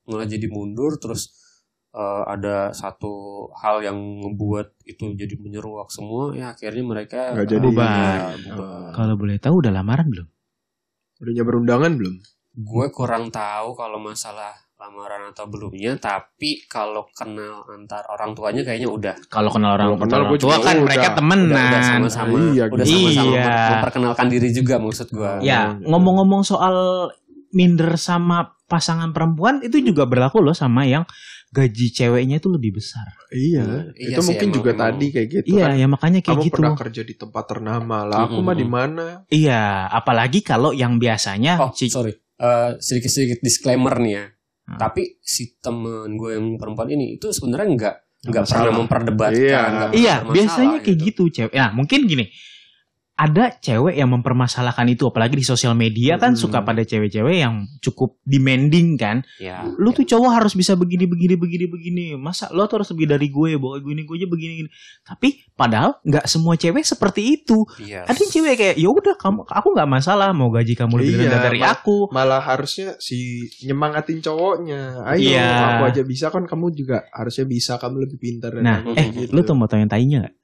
Speaker 3: malah jadi mundur terus eh, ada satu hal yang ngebuat itu jadi menyeruak semua ya akhirnya mereka
Speaker 2: Nggak
Speaker 3: eh,
Speaker 2: jadi.
Speaker 1: Bubar.
Speaker 3: ya, bubar.
Speaker 1: Kalau boleh tahu udah lamaran belum?
Speaker 2: Udah nyabar undangan belum?
Speaker 3: Gue kurang tahu kalau masalah lamaran atau belumnya tapi kalau kenal antar orang tuanya kayaknya udah
Speaker 1: Kalau kenal orang
Speaker 2: Kalau kenal
Speaker 1: orang
Speaker 2: gua juga
Speaker 1: tua kan
Speaker 2: udah.
Speaker 1: mereka
Speaker 2: Udah-
Speaker 1: temenan.
Speaker 3: udah, udah sama-sama
Speaker 2: Iya,
Speaker 3: udah
Speaker 1: gitu.
Speaker 3: sama-sama
Speaker 1: Iya.
Speaker 3: mem- memperkenalkan diri juga maksud gue.
Speaker 1: ya,
Speaker 2: Gitu.
Speaker 1: ngomong-ngomong soal minder sama pasangan perempuan itu juga berlaku loh sama yang gaji ceweknya itu lebih besar.
Speaker 2: Iya. itu
Speaker 3: Iya sih,
Speaker 2: mungkin
Speaker 3: emang-
Speaker 2: juga
Speaker 3: emang.
Speaker 2: tadi kayak gitu kan.
Speaker 1: Iya, ya makanya kayak
Speaker 2: kamu
Speaker 1: gitu.
Speaker 2: pernah kerja di tempat ternama lah aku mah di mana
Speaker 1: Iya, apalagi kalau yang biasanya Ah,
Speaker 3: Oh,
Speaker 1: si-
Speaker 3: sorry. Eh, Sedikit-sedikit disclaimer nih ya.
Speaker 1: Hmm.
Speaker 3: Tapi si temen gue yang perempuan ini itu sebenarnya nggak
Speaker 2: Nggak
Speaker 3: nggak pernah
Speaker 2: masalah.
Speaker 3: memperdebatkan.
Speaker 2: Iya.
Speaker 3: nggak pernah
Speaker 1: Iya,
Speaker 3: bermasalah
Speaker 1: biasanya kayak gitu. cewek. Nah, mungkin gini. Ada cewek yang mempermasalahkan itu apalagi di sosial media kan
Speaker 2: Hmm.
Speaker 1: suka pada cewek-cewek yang cukup demanding kan.
Speaker 3: Iya.
Speaker 1: Lu tuh cowok harus bisa begini begini begini begini. Masa lo tuh harus lebih dari gue, bahwa gue ini gue aja begini gini. Tapi padahal nggak semua cewek seperti itu.
Speaker 3: Iya.
Speaker 1: Ada yang cewek kayak ya udah kamu aku nggak masalah mau gaji kamu lebih
Speaker 2: Iya,
Speaker 1: rendah dari
Speaker 2: ma-
Speaker 1: aku.
Speaker 2: malah harusnya si nyemangatin cowoknya ayo
Speaker 1: Iya.
Speaker 2: aku aja bisa kan kamu juga harusnya bisa kamu lebih pintar dan
Speaker 1: Nah,
Speaker 2: lain-lain
Speaker 1: eh,
Speaker 2: gitu.
Speaker 1: lu tuh mau tau yang tainya gak?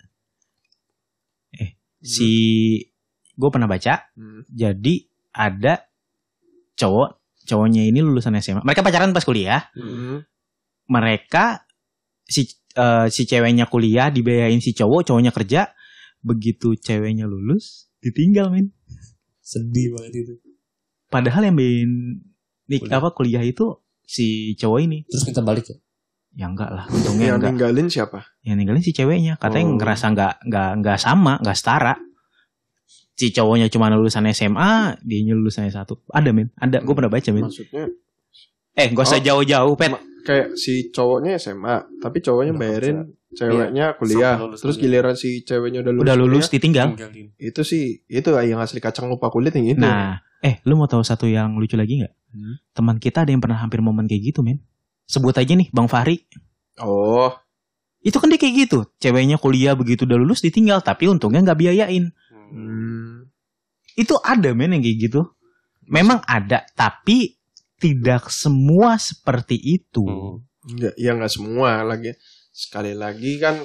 Speaker 1: Eh, si gue pernah baca
Speaker 2: Hmm.
Speaker 1: jadi ada cowok cowoknya ini lulusan SMA mereka pacaran pas kuliah
Speaker 2: Hmm.
Speaker 1: mereka si eh, si ceweknya kuliah dibayain si cowok cowoknya kerja begitu ceweknya lulus ditinggal men
Speaker 3: Sedih banget itu.
Speaker 1: padahal yang bikin nik
Speaker 3: Kuliah.
Speaker 1: apa kuliah itu si cowok ini
Speaker 3: Terus minta balik ya.
Speaker 1: ya enggak lah untungnya
Speaker 2: yang
Speaker 1: enggak
Speaker 2: ninggalin siapa?
Speaker 1: yang Ya, ninggalin si ceweknya katanya
Speaker 2: Oh.
Speaker 1: ngerasa nggak nggak nggak sama nggak setara si cowoknya cuma lulusan SMA dia lulusan S1 ada men ada gue pernah baca men
Speaker 2: Maksudnya
Speaker 1: eh gak usah
Speaker 2: Oh.
Speaker 1: jauh-jauh pet
Speaker 2: Ma- kayak si cowoknya SMA, tapi cowoknya
Speaker 3: Udah
Speaker 2: bayarin
Speaker 1: Iya.
Speaker 2: ceweknya kuliah.
Speaker 3: Sampai lulus
Speaker 2: Terus
Speaker 3: kuliah.
Speaker 2: giliran si ceweknya udah lulus.
Speaker 1: udah lulus
Speaker 2: kuliah,
Speaker 1: ditinggal
Speaker 3: Tinggalin.
Speaker 2: itu sih itu yang asli kacang lupa kulit yang itu.
Speaker 1: nah eh lu mau tahu satu yang lucu lagi nggak
Speaker 2: gitu. Hmm.
Speaker 1: teman kita ada yang pernah hampir momen kayak gitu men sebut aja nih bang Fahri
Speaker 2: Oh,
Speaker 1: itu kan dia kayak gitu ceweknya kuliah begitu udah lulus ditinggal tapi untungnya nggak biayain
Speaker 3: Hmm.
Speaker 2: hmm,
Speaker 1: itu ada men yang kayak gitu memang ada tapi tidak semua seperti itu
Speaker 3: Hmm.
Speaker 2: nggak, ya nggak semua lagi. Sekali lagi kan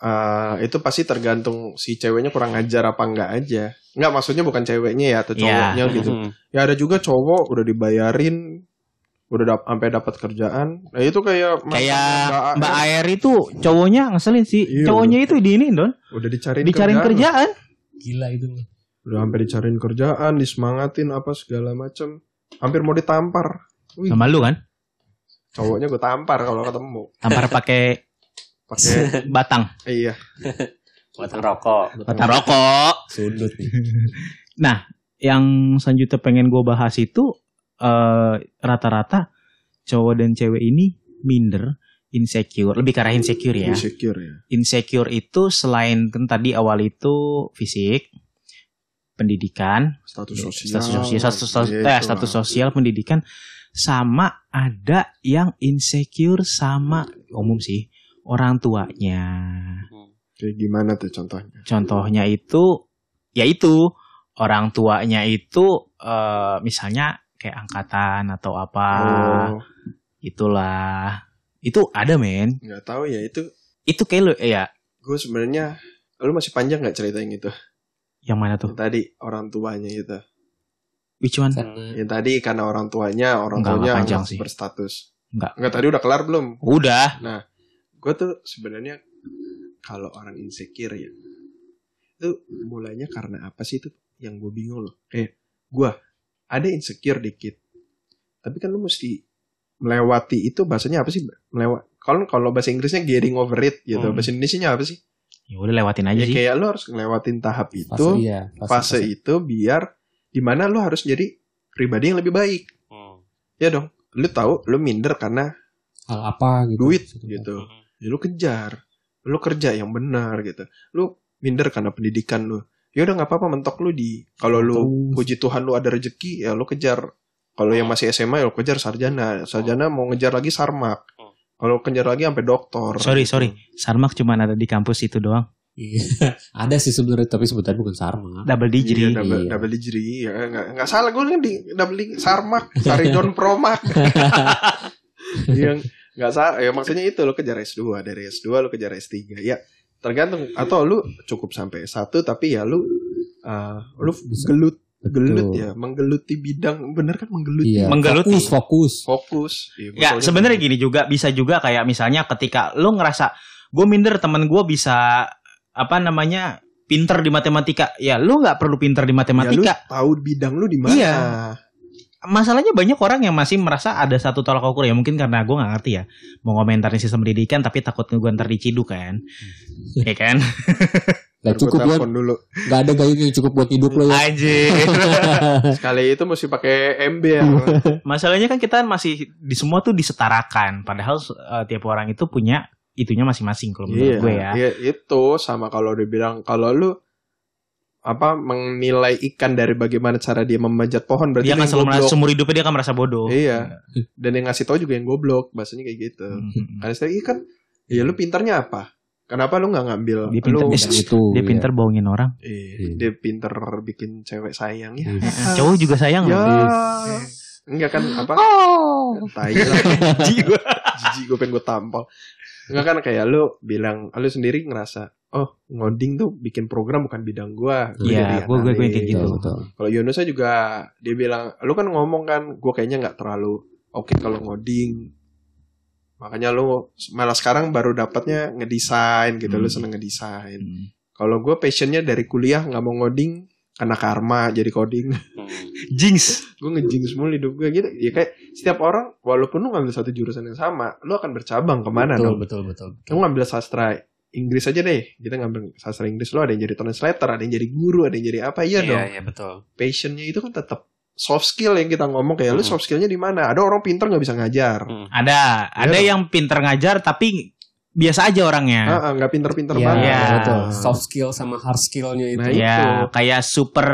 Speaker 2: eh, itu pasti tergantung si ceweknya kurang ajar apa enggak aja. Nggak maksudnya bukan ceweknya ya atau
Speaker 1: Ya.
Speaker 2: cowoknya gitu.
Speaker 3: Hmm.
Speaker 2: Ya ada juga cowok udah dibayarin, udah dap- sampai dapat kerjaan. Nah itu kayak
Speaker 1: Kayak
Speaker 2: Mbak ya.
Speaker 1: Mbak
Speaker 2: AR,
Speaker 1: Air itu cowoknya ngeselin sih.
Speaker 2: Iya.
Speaker 1: Cowoknya itu di ini don,
Speaker 2: udah dicariin
Speaker 1: dicariin kerjaan.
Speaker 3: Gila itu.
Speaker 2: Udah sampai dicariin kerjaan, disemangatin apa segala macem. Hampir mau ditampar. Wih,
Speaker 1: Sama lu kan,
Speaker 2: cowoknya gue tampar kalau ketemu.
Speaker 1: [laughs] tampar pakai [laughs]
Speaker 2: Pakai
Speaker 1: batang,
Speaker 2: iya.
Speaker 3: Batang rokok.
Speaker 1: batang rokok.
Speaker 3: Sudut nih.
Speaker 1: Yang selanjutnya pengen gue bahas itu eh, rata-rata cowok dan cewek ini minder, insecure, lebih ke arah insecure ya.
Speaker 2: Insecure ya.
Speaker 1: Insecure itu selain kan tadi awal itu fisik, pendidikan,
Speaker 2: Status
Speaker 1: Iya,
Speaker 2: sosial.
Speaker 1: status sosial status, status,
Speaker 2: Gitu
Speaker 1: eh,
Speaker 2: lah.
Speaker 1: status sosial pendidikan sama ada yang insecure sama umum sih orang tuanya
Speaker 2: Kayak gimana tuh contohnya?
Speaker 1: contohnya itu yaitu orang tuanya itu eh, misalnya kayak angkatan atau apa Ah.
Speaker 2: oh,
Speaker 1: itulah itu ada men
Speaker 2: nggak tahu ya itu.
Speaker 1: itu kayak lu eh, ya
Speaker 2: Gue sebenarnya lu masih panjang nggak cerita yang itu?
Speaker 1: yang mana tuh
Speaker 2: Yang tadi orang tuanya gitu.
Speaker 1: which one
Speaker 3: Karena
Speaker 2: Yang tadi karena orang tuanya, orang
Speaker 1: Nggak,
Speaker 2: tuanya
Speaker 1: nggak panjang
Speaker 2: nggak
Speaker 1: sih.
Speaker 2: berstatus.
Speaker 1: Nggak.
Speaker 2: Enggak tadi udah kelar belum?
Speaker 1: udah
Speaker 2: gue tuh sebenarnya kalau orang insecure ya itu mulanya karena apa sih itu yang gue bingung loh kayak gue ada insecure dikit tapi kan lu mesti melewati itu bahasanya apa sih melewat kalau kalau bahasa Inggrisnya getting over it gitu
Speaker 3: Hmm.
Speaker 2: bahasa Indonesia apa sih
Speaker 1: ya udah lewatin aja
Speaker 2: ya
Speaker 1: sih
Speaker 2: kayak lu harus ngelewatin tahap itu
Speaker 4: Fase
Speaker 2: fase,
Speaker 4: iya,
Speaker 2: itu biar dimana lu harus jadi pribadi yang lebih baik
Speaker 3: Hmm.
Speaker 2: ya dong lu tahu lu minder karena
Speaker 4: hal apa gitu.
Speaker 2: duit
Speaker 4: Maksudnya.
Speaker 2: gitu
Speaker 3: Hmm.
Speaker 2: ya lu kejar lu kerja yang benar gitu lu minder karena pendidikan lu ya udah nggak apa-apa mentok lu di kalau lu
Speaker 4: Terus.
Speaker 2: puji Tuhan lu ada rezeki ya lu kejar kalau yang masih SMA ya lu kejar sarjana sarjana mau ngejar lagi sarmak kalau kejar lagi sampai doktor
Speaker 1: sorry sorry sarmak cuma ada di kampus itu doang
Speaker 4: Iya. Ada sih sebenarnya tapi sebutannya bukan sarma.
Speaker 1: double
Speaker 2: Iya,
Speaker 1: digit
Speaker 2: double,
Speaker 4: Iya.
Speaker 2: double degree. ya nggak nggak salah gue kan di double degree, sarmak
Speaker 4: [laughs]
Speaker 2: saridon promak yang nggak salah ya maksudnya itu lo kejar S2 dari S2 lo kejar S3 ya tergantung atau lu cukup sampai S1 tapi ya lu eh, lu
Speaker 4: Bisa.
Speaker 2: gelut gelut
Speaker 4: Betul.
Speaker 2: ya menggeluti bidang bener kan menggeluti
Speaker 4: Iya.
Speaker 1: Menggeluti.
Speaker 4: Fokus, fokus.
Speaker 2: fokus ya,
Speaker 1: Nggak,
Speaker 2: pokoknya-
Speaker 1: sebenarnya gitu. gini juga bisa juga kayak misalnya ketika lo ngerasa gue minder temen gue bisa apa namanya pinter di matematika ya lo nggak perlu pinter di
Speaker 2: ya, lu
Speaker 1: matematika
Speaker 2: tahu bidang lu di mana
Speaker 1: Iya. masalahnya banyak orang yang masih merasa ada satu tolak ukur ya mungkin karena gue nggak ngerti ya mau komentarin sistem pendidikan tapi takut gue ntar diciduk kan
Speaker 2: Hmm.
Speaker 1: ya
Speaker 2: [laughs]
Speaker 1: kan
Speaker 4: Nah,
Speaker 2: Ntar gua
Speaker 4: cukup ya.
Speaker 2: telepon dulu
Speaker 4: Gak ada gayung yang cukup buat hidup lo ya.
Speaker 3: Iya.
Speaker 1: aja
Speaker 2: sekali itu mesti pakai ember
Speaker 1: [laughs]
Speaker 4: [laughs]
Speaker 1: masalahnya kan kita masih di semua tuh disetarakan padahal eh, tiap orang itu punya itunya masing-masing kalau menurut
Speaker 2: Iya,
Speaker 1: gue ya
Speaker 2: iya, itu sama kalau dibilang kalau lu apa menilai ikan dari bagaimana cara dia memanjat pohon berarti
Speaker 1: dia kan
Speaker 2: yang
Speaker 1: selalu merasa
Speaker 2: goblok.
Speaker 1: seumur hidupnya dia akan merasa bodoh
Speaker 2: Iya. Dan yang ngasih tahu juga yang goblok, bahasanya kayak gitu.
Speaker 1: Mm-mm.
Speaker 2: Karena saya kan ya lu pintarnya apa? Kenapa lu nggak ngambil?
Speaker 1: Dia gitu.
Speaker 2: lu
Speaker 1: pintar
Speaker 4: Bukan itu.
Speaker 1: Dia
Speaker 4: iya.
Speaker 1: pinter bohongin orang.
Speaker 2: Iya,
Speaker 4: Iya.
Speaker 2: dia pintar bikin cewek sayang ya.
Speaker 4: Iya.
Speaker 1: Cowok juga sayang
Speaker 2: Ya.
Speaker 1: loh.
Speaker 2: Enggak kan apa? Tai lah.
Speaker 1: [laughs]
Speaker 2: jijik gue pengen gue tampol Enggak kan kayak lu bilang lu sendiri ngerasa oh ngoding tuh bikin program bukan bidang gua Gua
Speaker 1: Iya,
Speaker 2: jadi
Speaker 1: gue gue gue yang kayak
Speaker 2: analis.
Speaker 1: gitu.
Speaker 4: Betul, betul.
Speaker 2: kalau Yunusa juga dia bilang lu kan ngomong kan gue kayaknya nggak terlalu oke kalau ngoding makanya lu malah sekarang baru dapatnya ngedesain gitu lu
Speaker 1: Hmm.
Speaker 2: seneng ngedesain
Speaker 1: Hmm.
Speaker 2: kalau gue passionnya dari kuliah nggak mau ngoding kena karma jadi coding
Speaker 3: Hmm.
Speaker 1: Jinx.
Speaker 2: gue ngejinx mulu hidup gue gitu ya kayak setiap orang walaupun lu ngambil satu jurusan yang sama lu akan bercabang
Speaker 4: betul,
Speaker 2: kemana Nah, dong
Speaker 4: betul, betul, betul.
Speaker 2: kamu ngambil sastra Inggris aja deh kita ngambil sastra Inggris lu ada yang jadi translator ada yang jadi guru ada yang jadi apa iya
Speaker 3: Iya,
Speaker 2: dong
Speaker 3: iya betul.
Speaker 2: passionnya itu kan tetap soft skill yang kita ngomong kayak lu
Speaker 3: Mhm.
Speaker 2: soft skillnya di mana ada orang pinter nggak bisa ngajar
Speaker 3: Hmm.
Speaker 1: Ada, ada
Speaker 2: Iya.
Speaker 1: yang pinter ngajar tapi biasa aja orangnya.
Speaker 2: Ah, ah, nggak pinter-pinter
Speaker 4: Iya,
Speaker 2: banget
Speaker 4: betul.
Speaker 3: Soft skill sama hard skillnya itu.
Speaker 2: Nah,
Speaker 1: Iya, kayak super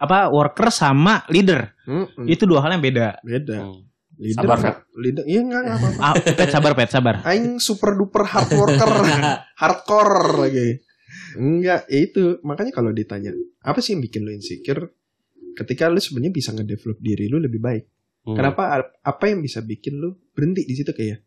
Speaker 1: apa worker sama leader.
Speaker 2: Mm-mm,
Speaker 1: Itu dua hal yang beda.
Speaker 2: beda
Speaker 3: Hmm.
Speaker 2: leader
Speaker 3: Sabar, Fat.
Speaker 2: leader iya nggak nggak apa-apa
Speaker 1: Ah, pet sabar, pet sabar.
Speaker 2: Aing super duper hard
Speaker 3: [laughs]
Speaker 2: worker Hardcore lagi Enggak ya itu Makanya kalau ditanya Apa sih yang bikin lo insecure Ketika lo sebenarnya bisa ngedevelop diri lo lebih baik
Speaker 3: Hmm.
Speaker 2: Kenapa a- Apa yang bisa bikin lo Berhenti di situ kayak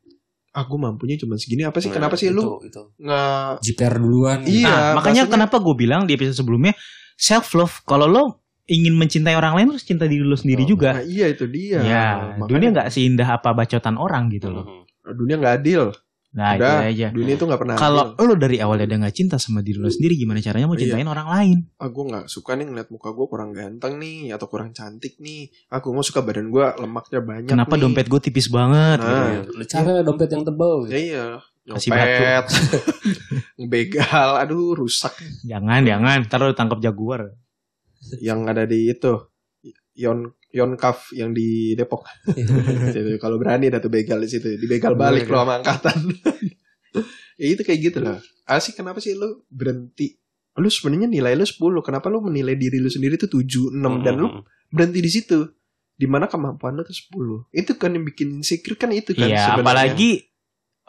Speaker 2: Aku mampunya cuma segini Apa sih
Speaker 3: Nah,
Speaker 2: Kenapa sih
Speaker 3: itu,
Speaker 2: lo
Speaker 3: Itu.
Speaker 2: nge
Speaker 4: JPR duluan.
Speaker 2: Iya
Speaker 1: nah, makanya
Speaker 2: maksudnya-
Speaker 1: kenapa gue bilang di episode sebelumnya self love kalau lo ingin mencintai orang lain harus cinta diri lo sendiri
Speaker 4: Betul.
Speaker 1: juga.
Speaker 2: Nah, iya itu dia
Speaker 1: ya,
Speaker 2: Makanya
Speaker 1: dunia nggak seindah apa bacotan orang gitu loh.
Speaker 3: Hmm.
Speaker 2: Dunia nggak adil
Speaker 1: Nah, itu
Speaker 2: Udah.
Speaker 1: aja.
Speaker 2: Dunia itu nggak pernah
Speaker 1: Kalau
Speaker 2: adil.
Speaker 1: lo dari awal udah nggak cinta sama diri lo sendiri, gimana caranya mau
Speaker 2: Iya.
Speaker 1: cintain orang lain?
Speaker 2: ah, Gue nggak suka nih ngeliat muka gue kurang ganteng nih Atau kurang cantik nih Aku mau suka badan gue lemaknya banyak
Speaker 1: Kenapa
Speaker 2: nih.
Speaker 1: dompet gue tipis banget?
Speaker 2: Nah.
Speaker 1: gitu.
Speaker 3: Iya. Lu cari
Speaker 4: Cara dompet yang tebal.
Speaker 2: Ya iya.
Speaker 1: Kasih
Speaker 2: [laughs] Nyopet. Begal. Aduh rusak.
Speaker 1: Jangan, jangan. Ntar lo tangkap jaguar.
Speaker 2: Yang ada di itu. Yon Yonkaf yang di Depok. Jadi Kalau berani ada tuh begal di situ. Dibegal balik lo sama angkatan. [laughs] ya itu kayak gitu loh. Asik kenapa sih lu berhenti? Lu sebenarnya nilai lu 10. Kenapa lu menilai diri lu sendiri tuh 7, 6 dan
Speaker 3: Hmm.
Speaker 2: lu berhenti di situ? Dimana kemampuan lu tuh 10. Itu kan yang bikin insecure kan itu kan
Speaker 1: Iya,
Speaker 2: sebenarnya.
Speaker 1: apalagi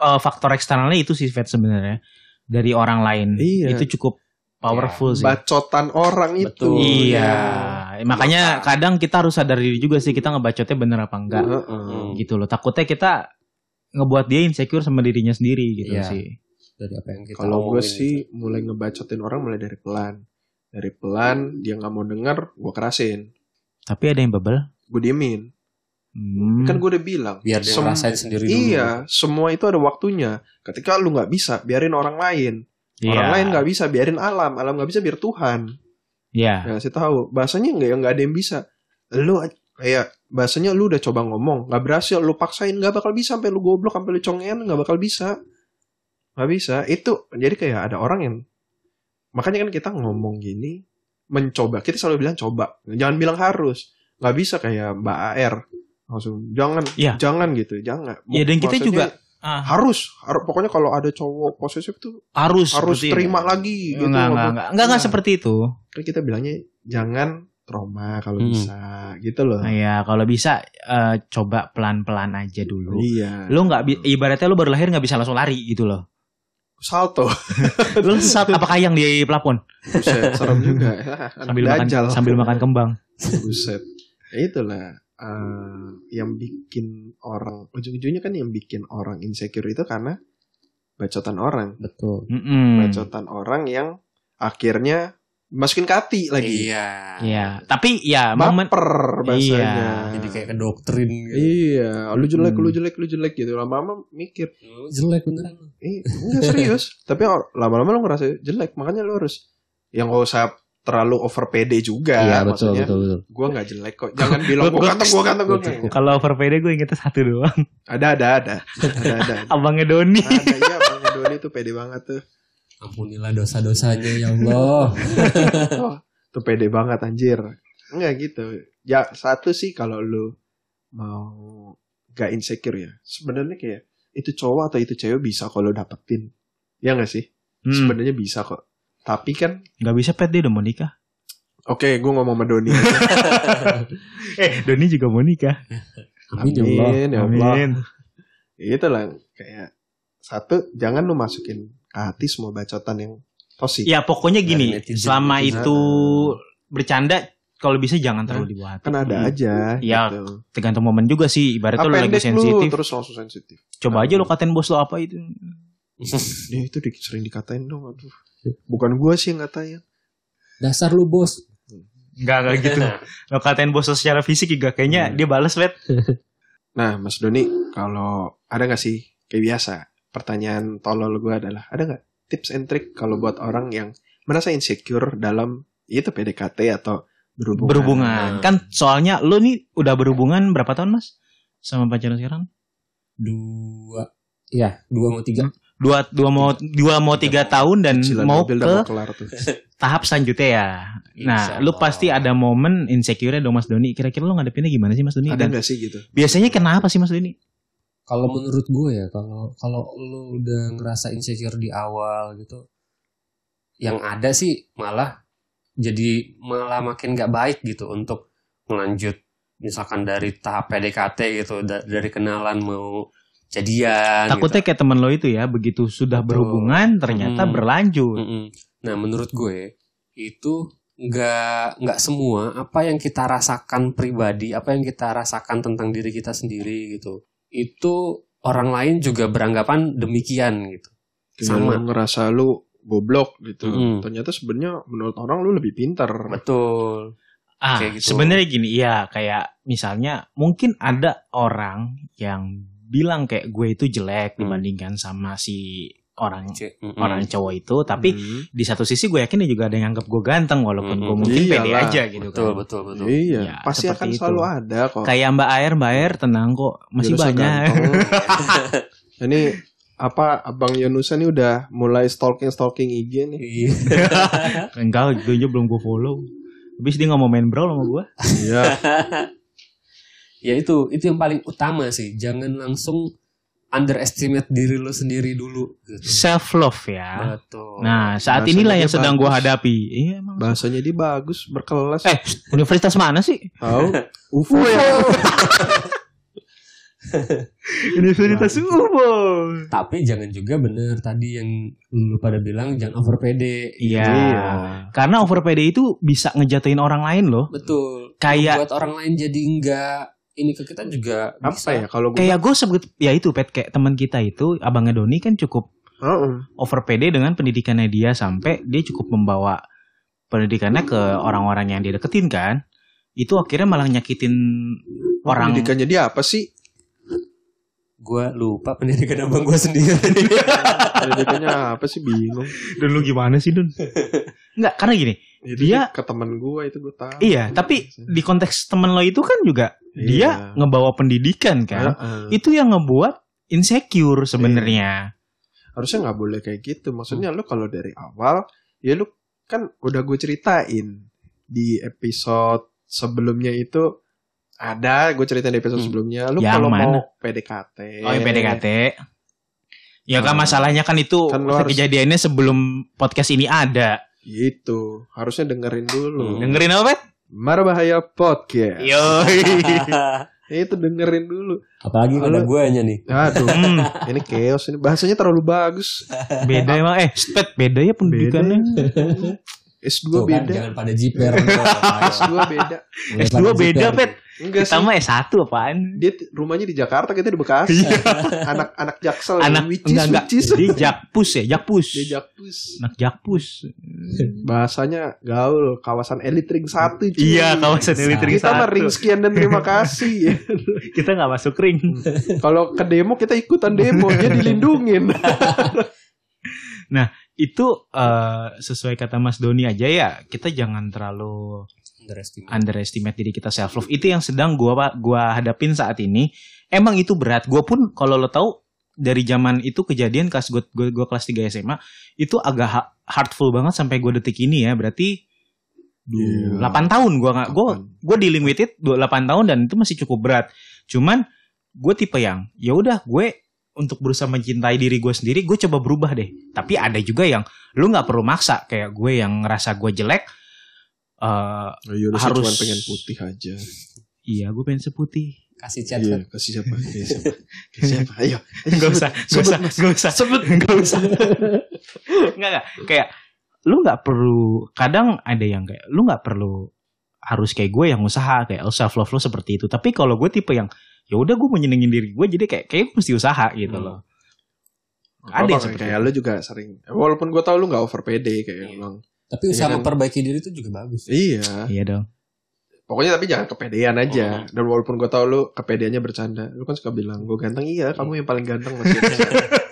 Speaker 1: eh, faktor eksternalnya itu sih Fat sebenarnya dari orang lain.
Speaker 2: Iya.
Speaker 1: Itu cukup powerful sih.
Speaker 2: bacotan orang itu.
Speaker 3: Betul.
Speaker 1: Iya, makanya
Speaker 3: Maka-
Speaker 1: kadang kita harus sadar diri juga sih kita ngebacotnya bener apa enggak
Speaker 3: Hmm.
Speaker 2: Heeh.
Speaker 1: gitu loh. Takutnya kita ngebuat dia insecure sama dirinya sendiri gitu
Speaker 4: Iya.
Speaker 1: sih.
Speaker 4: Dari apa yang kita
Speaker 2: Kalau
Speaker 4: omongin
Speaker 2: gue sih mulai ngebacotin orang mulai dari pelan. Dari pelan dia nggak mau denger, gue kerasin.
Speaker 1: Tapi ada yang bebel.
Speaker 2: Gue diemin.
Speaker 1: Hmm.
Speaker 2: Kan gue udah bilang.
Speaker 4: Biar dia
Speaker 2: sem-
Speaker 4: ngerasain sendiri dulu.
Speaker 2: Iya, semua itu ada waktunya. Ketika lu nggak bisa, biarin orang lain. Orang
Speaker 1: Iya.
Speaker 2: lain nggak bisa, biarin alam. Alam nggak bisa, biar Tuhan.
Speaker 1: Iya.
Speaker 2: Nah, saya tahu. Bahasanya nggak nggak ada yang bisa. Lu kayak bahasanya lu udah coba ngomong, nggak berhasil, lu paksain nggak bakal bisa sampai lu goblok, sampai lu congean nggak bakal bisa. Nggak bisa. Itu jadi kayak ada orang yang makanya kan kita ngomong gini mencoba. Kita selalu bilang coba. Jangan bilang harus. Nggak bisa kayak Mbak AR langsung jangan
Speaker 1: Iya.
Speaker 2: jangan gitu jangan
Speaker 1: Iya, dan kita
Speaker 2: Maksudnya
Speaker 1: juga, ah.
Speaker 2: harus, harus pokoknya kalau ada cowok posesif tuh
Speaker 1: Harus
Speaker 2: harus
Speaker 1: seperti-
Speaker 2: terima lagi
Speaker 1: Enggak,
Speaker 2: gitu
Speaker 1: enggak,
Speaker 2: Nggak-
Speaker 1: enggak, enggak, enggak
Speaker 2: Nah.
Speaker 1: seperti itu.
Speaker 2: kan kita bilangnya jangan trauma kalau
Speaker 4: Hmm.
Speaker 2: bisa gitu loh.
Speaker 1: Nah, ya kalau bisa eh, coba pelan-pelan aja dulu.
Speaker 2: Iya.
Speaker 1: Lu nggak bi- ibaratnya lu baru lahir nggak bisa langsung lari gitu loh.
Speaker 2: salto.
Speaker 1: Lu
Speaker 2: [laughs]
Speaker 1: saat apakah yang di pelapon
Speaker 2: Buset, serem juga.
Speaker 1: [laughs]
Speaker 2: Anak
Speaker 1: sambil makan
Speaker 2: dajal.
Speaker 1: sambil
Speaker 2: [laughs]
Speaker 1: makan kembang.
Speaker 2: Buset. Ya itulah eh, yang bikin orang ujung-ujungnya kan yang bikin orang insecure itu karena bacotan orang,
Speaker 4: Betul.
Speaker 1: Mm-mm.
Speaker 2: bacotan orang yang akhirnya masukin ke hati lagi.
Speaker 3: Iya.
Speaker 1: Iya, tapi ya momen
Speaker 2: Baper bahasanya.
Speaker 1: Iya.
Speaker 4: Jadi kayak ke doktrin gitu.
Speaker 2: Iya, lu jelek, lu
Speaker 1: Hmm.
Speaker 2: jelek, lu jelek gitu. Lama-lama mikir,
Speaker 3: Lu
Speaker 4: Jelek beneran.
Speaker 2: Iya, enggak serius. Tapi or- lama-lama lo ngerasa jelek, makanya lo harus yang gak usah terlalu over pede juga.
Speaker 4: Iya, betul,
Speaker 2: maksudnya
Speaker 4: betul, betul.
Speaker 2: gue nggak jelek kok. Jangan bilang gue
Speaker 1: Gua-
Speaker 2: ganteng, gue ganteng, gue ganteng.
Speaker 1: kalau over PD gue ingetnya satu doang.
Speaker 2: Ada, ada, ada, ada, ada.
Speaker 1: [laughs] Abangnya Doni.
Speaker 2: Ada iya, Bang Doni tuh pede banget tuh.
Speaker 4: Ampunilah dosa-dosanya ya Allah.
Speaker 2: Tuh pede banget anjir. Enggak gitu. Ya satu sih kalau lo mau gak insecure ya. Sebenarnya kayak itu cowok atau itu cewek bisa kalau dapetin. Ya gak sih?
Speaker 1: Hmm,
Speaker 2: Sebenarnya bisa kok. Tapi kan
Speaker 1: Gak bisa pet dia udah mau nikah.
Speaker 2: Oke, gue ngomong sama Doni.
Speaker 1: Eh, Doni juga mau nikah.
Speaker 4: Amin ya Allah.
Speaker 2: Amin, ya Allah.
Speaker 1: Iya. Amin.
Speaker 2: itu lah Ya kayak satu jangan lu masukin ke hati semua bacotan yang toksik
Speaker 1: Ya pokoknya gini,
Speaker 4: Dari netizen,
Speaker 1: selama
Speaker 4: netizen.
Speaker 1: itu bercanda kalau bisa jangan terlalu dibuat.
Speaker 2: kan ada aja
Speaker 1: Ya,
Speaker 2: gitu.
Speaker 1: Tergantung momen juga sih, ibaratnya lu lagi
Speaker 2: pendek
Speaker 1: sensitif.
Speaker 2: terus langsung sensitif
Speaker 1: Coba aja lu katain bos lo apa itu.
Speaker 2: ya itu di- sering dikatain dong aduh bukan gua sih yang ngatain
Speaker 4: Dasar lu bos.
Speaker 1: Enggak enggak gitu.
Speaker 3: Nah.
Speaker 1: lo katain bos lo secara fisik juga kayaknya
Speaker 3: Hmm.
Speaker 1: dia bales wet.
Speaker 2: nah Mas Doni kalau ada nggak sih kayak biasa pertanyaan tolol gua adalah ada nggak tips and trick kalau buat orang yang merasa insecure dalam ya itu PDKT atau berhubungan.
Speaker 1: berhubungan
Speaker 3: Hmm.
Speaker 1: kan soalnya lu nih udah berhubungan berapa tahun mas sama pacar lu sekarang
Speaker 4: Dua.
Speaker 3: Iya, dua mau
Speaker 1: Nah,
Speaker 3: tiga.
Speaker 1: dua dua mau dua mau tiga tahun dan
Speaker 2: Cicilan
Speaker 1: mau
Speaker 2: mobil
Speaker 1: ke
Speaker 2: udah mau kelar
Speaker 1: [laughs]
Speaker 2: tuh.
Speaker 1: tahap selanjutnya ya nah
Speaker 3: Insya
Speaker 1: lu
Speaker 3: Allah.
Speaker 1: pasti ada momen insecure dong mas Doni kira-kira lu ngadepinnya gimana sih mas Doni
Speaker 2: Ada
Speaker 1: dan
Speaker 2: nggak sih gitu?
Speaker 1: biasanya kenapa sih mas Doni
Speaker 3: Kalau menurut gue ya, kalau kalau lu udah ngerasa insecure di awal gitu, yang ada sih malah jadi malah makin nggak baik gitu untuk melanjut misalkan dari tahap PDKT gitu da- dari kenalan mau jadian gitu.
Speaker 1: takutnya kayak temen lo itu ya begitu sudah
Speaker 3: Betul.
Speaker 1: berhubungan ternyata
Speaker 3: Hmm.
Speaker 1: berlanjut
Speaker 3: Mm-mm. Nah, menurut gue itu nggak nggak semua apa yang kita rasakan pribadi, apa yang kita rasakan tentang diri kita sendiri gitu, itu orang lain juga beranggapan demikian gitu.
Speaker 2: Kayak
Speaker 3: Sama.
Speaker 2: lu ngerasa lu goblok gitu.
Speaker 3: Mm.
Speaker 2: Ternyata sebenarnya menurut orang lu lebih pintar.
Speaker 3: Betul.
Speaker 1: Ah,
Speaker 3: Kayak gitu.
Speaker 1: sebenarnya gini, ya kayak misalnya mungkin ada orang yang bilang kayak gue itu jelek
Speaker 3: Hmm.
Speaker 1: dibandingkan sama si orang
Speaker 3: C- mm-mm.
Speaker 1: orang cowok itu, tapi
Speaker 2: Mm.
Speaker 1: di satu sisi gue yakin dia juga ada yang nganggap gue ganteng walaupun
Speaker 3: Hmm.
Speaker 1: gue mungkin pede
Speaker 2: Iyalah.
Speaker 1: aja gitu
Speaker 3: betul
Speaker 1: kan.
Speaker 3: betul betul.
Speaker 2: Iya,
Speaker 1: Ya,
Speaker 2: pasti
Speaker 1: seperti
Speaker 2: akan
Speaker 1: itu.
Speaker 2: selalu ada kok.
Speaker 1: Kayak Mbak Air, Mbak Air tenang kok, masih
Speaker 2: Yonusa
Speaker 1: banyak. [laughs]
Speaker 2: ganteng. Ini apa Abang Yonusa nih udah mulai stalking stalking IG nih.
Speaker 3: Iya.
Speaker 1: Enggak, itu aja belum gue follow. Habis dia nggak mau main brawl sama gue.
Speaker 2: Iya.
Speaker 3: ya itu itu yang paling utama sih. Jangan langsung underestimate diri lo sendiri dulu. Gitu.
Speaker 1: Self love ya.
Speaker 3: Betul.
Speaker 1: Nah, saat
Speaker 2: Bahasanya
Speaker 1: inilah
Speaker 2: dia
Speaker 1: yang sedang gue
Speaker 2: bagus.
Speaker 1: hadapi. Iya, emang.
Speaker 2: [laughs] Bahasanya dia bagus, berkelas.
Speaker 1: Eh, universitas mana sih? [laughs]
Speaker 2: Tahu? UFO ya.
Speaker 1: Universitas UFO.
Speaker 3: Tapi jangan juga bener tadi yang lu pada bilang jangan over pede.
Speaker 1: Iya. Karena over PD itu bisa ngejatuhin orang lain loh.
Speaker 3: Betul.
Speaker 1: Kayak
Speaker 3: Buat orang lain jadi enggak ini ke kita juga
Speaker 2: Apa
Speaker 3: bisa.
Speaker 2: ya kalau gue?
Speaker 1: kayak gue sebut ya itu pet kayak teman kita itu abangnya Doni kan cukup
Speaker 2: Heeh.
Speaker 1: over PD dengan pendidikannya dia sampai dia cukup membawa pendidikannya ke orang-orang yang dia deketin kan. Itu akhirnya malah nyakitin orang.
Speaker 2: Pendidikannya dia apa sih?
Speaker 3: Gua lupa pendidikan abang gua sendiri.
Speaker 2: Pendidikannya apa sih bingung.
Speaker 1: Dun lu gimana sih [laughs] Dun? Enggak, karena gini.
Speaker 2: Itu
Speaker 1: Dia-
Speaker 2: ke teman gue itu gue tahu.
Speaker 1: Iya, tapi di konteks temen lo itu kan juga dia
Speaker 2: Iya.
Speaker 1: ngebawa pendidikan kan.
Speaker 2: Heeh.
Speaker 1: Itu yang ngebuat insecure sebenarnya.
Speaker 2: harusnya nggak boleh kayak gitu maksudnya lu kalau dari awal ya lu kan udah gue ceritain di episode sebelumnya itu ada gue ceritain di episode
Speaker 3: Hmm.
Speaker 2: sebelumnya lu
Speaker 1: Yang
Speaker 2: kalau
Speaker 1: mana?
Speaker 2: mau PDKT
Speaker 1: Oh, yang PDKT. Ya kan
Speaker 2: Hmm.
Speaker 1: masalahnya kan itu
Speaker 2: Kan lo harus-
Speaker 1: kejadiannya sebelum podcast ini ada.
Speaker 2: gitu harusnya dengerin dulu
Speaker 3: Hmm.
Speaker 1: Dengerin apa, Pet?
Speaker 2: Marbahaya podcast
Speaker 1: Yoi.
Speaker 2: itu dengerin dulu
Speaker 4: Apalagi
Speaker 2: kalau
Speaker 4: kalau
Speaker 3: Guanya nih.
Speaker 1: [laughs]
Speaker 2: aduh
Speaker 1: Hmm,
Speaker 2: ini chaos ini bahasanya terlalu bagus
Speaker 1: beda emang eh Pet, beda ya pendidikannya.
Speaker 2: S2
Speaker 4: Tuh kan,
Speaker 2: beda
Speaker 4: jangan pada jiper.
Speaker 2: S2 beda
Speaker 3: ya.
Speaker 4: Mulai
Speaker 1: S2
Speaker 4: pada
Speaker 1: beda,
Speaker 4: jiper.
Speaker 1: Pet.
Speaker 2: enggak sih
Speaker 1: Sama S1 apaan?
Speaker 2: dia t- rumahnya di Jakarta kita di Bekasi anak-anak Jaksel
Speaker 1: Iya. Anak
Speaker 2: which is,
Speaker 1: enggak enggak.
Speaker 2: which is.
Speaker 1: Dia jakpus ya, jakpus.
Speaker 2: Dia Jakpus.
Speaker 1: Anak jakpus.
Speaker 2: bahasanya gaul kawasan elit ring satu cuy.
Speaker 1: Iya, kawasan elit ring
Speaker 2: kita mah
Speaker 1: satu.
Speaker 2: ring sekian dan terima
Speaker 1: [laughs]
Speaker 2: kasih
Speaker 1: Kita nggak masuk ring.
Speaker 2: kalau ke demo kita ikutan demo dia [laughs] dilindungin
Speaker 1: Itu eh, sesuai kata Mas Doni aja ya. Kita jangan terlalu
Speaker 3: Underestimate.
Speaker 1: underestimate diri kita self love itu yang sedang gua gua hadapin saat ini emang itu berat gua pun kalau lo tahu dari zaman itu kejadian kelas gua, gua, gua kelas 3 SMA itu agak ha- hurtful banget sampai gua detik ini ya berarti
Speaker 2: Iya.
Speaker 1: 8 tahun gua nggak gua gue dealing with it 28 tahun dan itu masih cukup berat. Cuman gue tipe yang ya udah gue untuk berusaha mencintai diri gue sendiri gue coba berubah deh. Tapi ada juga yang lu nggak perlu maksa kayak gue yang ngerasa gue jelek. eh Harus-
Speaker 2: cuma pengen putih aja
Speaker 1: iya gue pengen [laughs] seputih.
Speaker 3: Kasih chat.
Speaker 2: iya kasih [laughs] siapa kasih siapa kasih siapa ayo
Speaker 1: Gak usah, gak usah, gak usah, [laughs] gak usah. Nggak, nggak. Kayak lu nggak perlu. Kadang ada yang kayak lu nggak perlu harus kayak gue yang usaha kayak self love lu seperti itu. Tapi kalau gue tipe yang ya udah gue menyenengin diri gue jadi kayak kayak gue mesti usaha gitu
Speaker 3: Hmm.
Speaker 1: loh.
Speaker 2: ada
Speaker 1: Ada yang seperti
Speaker 2: kayak lu juga sering walaupun gue tau lu nggak over pede kayak
Speaker 3: Iya.
Speaker 2: bilang
Speaker 3: Tapi usaha
Speaker 2: Iya kan?
Speaker 3: memperbaiki diri itu juga bagus.
Speaker 2: iya
Speaker 1: Iya dong.
Speaker 2: pokoknya tapi jangan kepedean aja
Speaker 1: Oh.
Speaker 2: dan walaupun gue tau lu kepedeannya bercanda lu kan suka bilang gue ganteng iya kamu yang paling
Speaker 1: [laughs]
Speaker 2: ganteng masih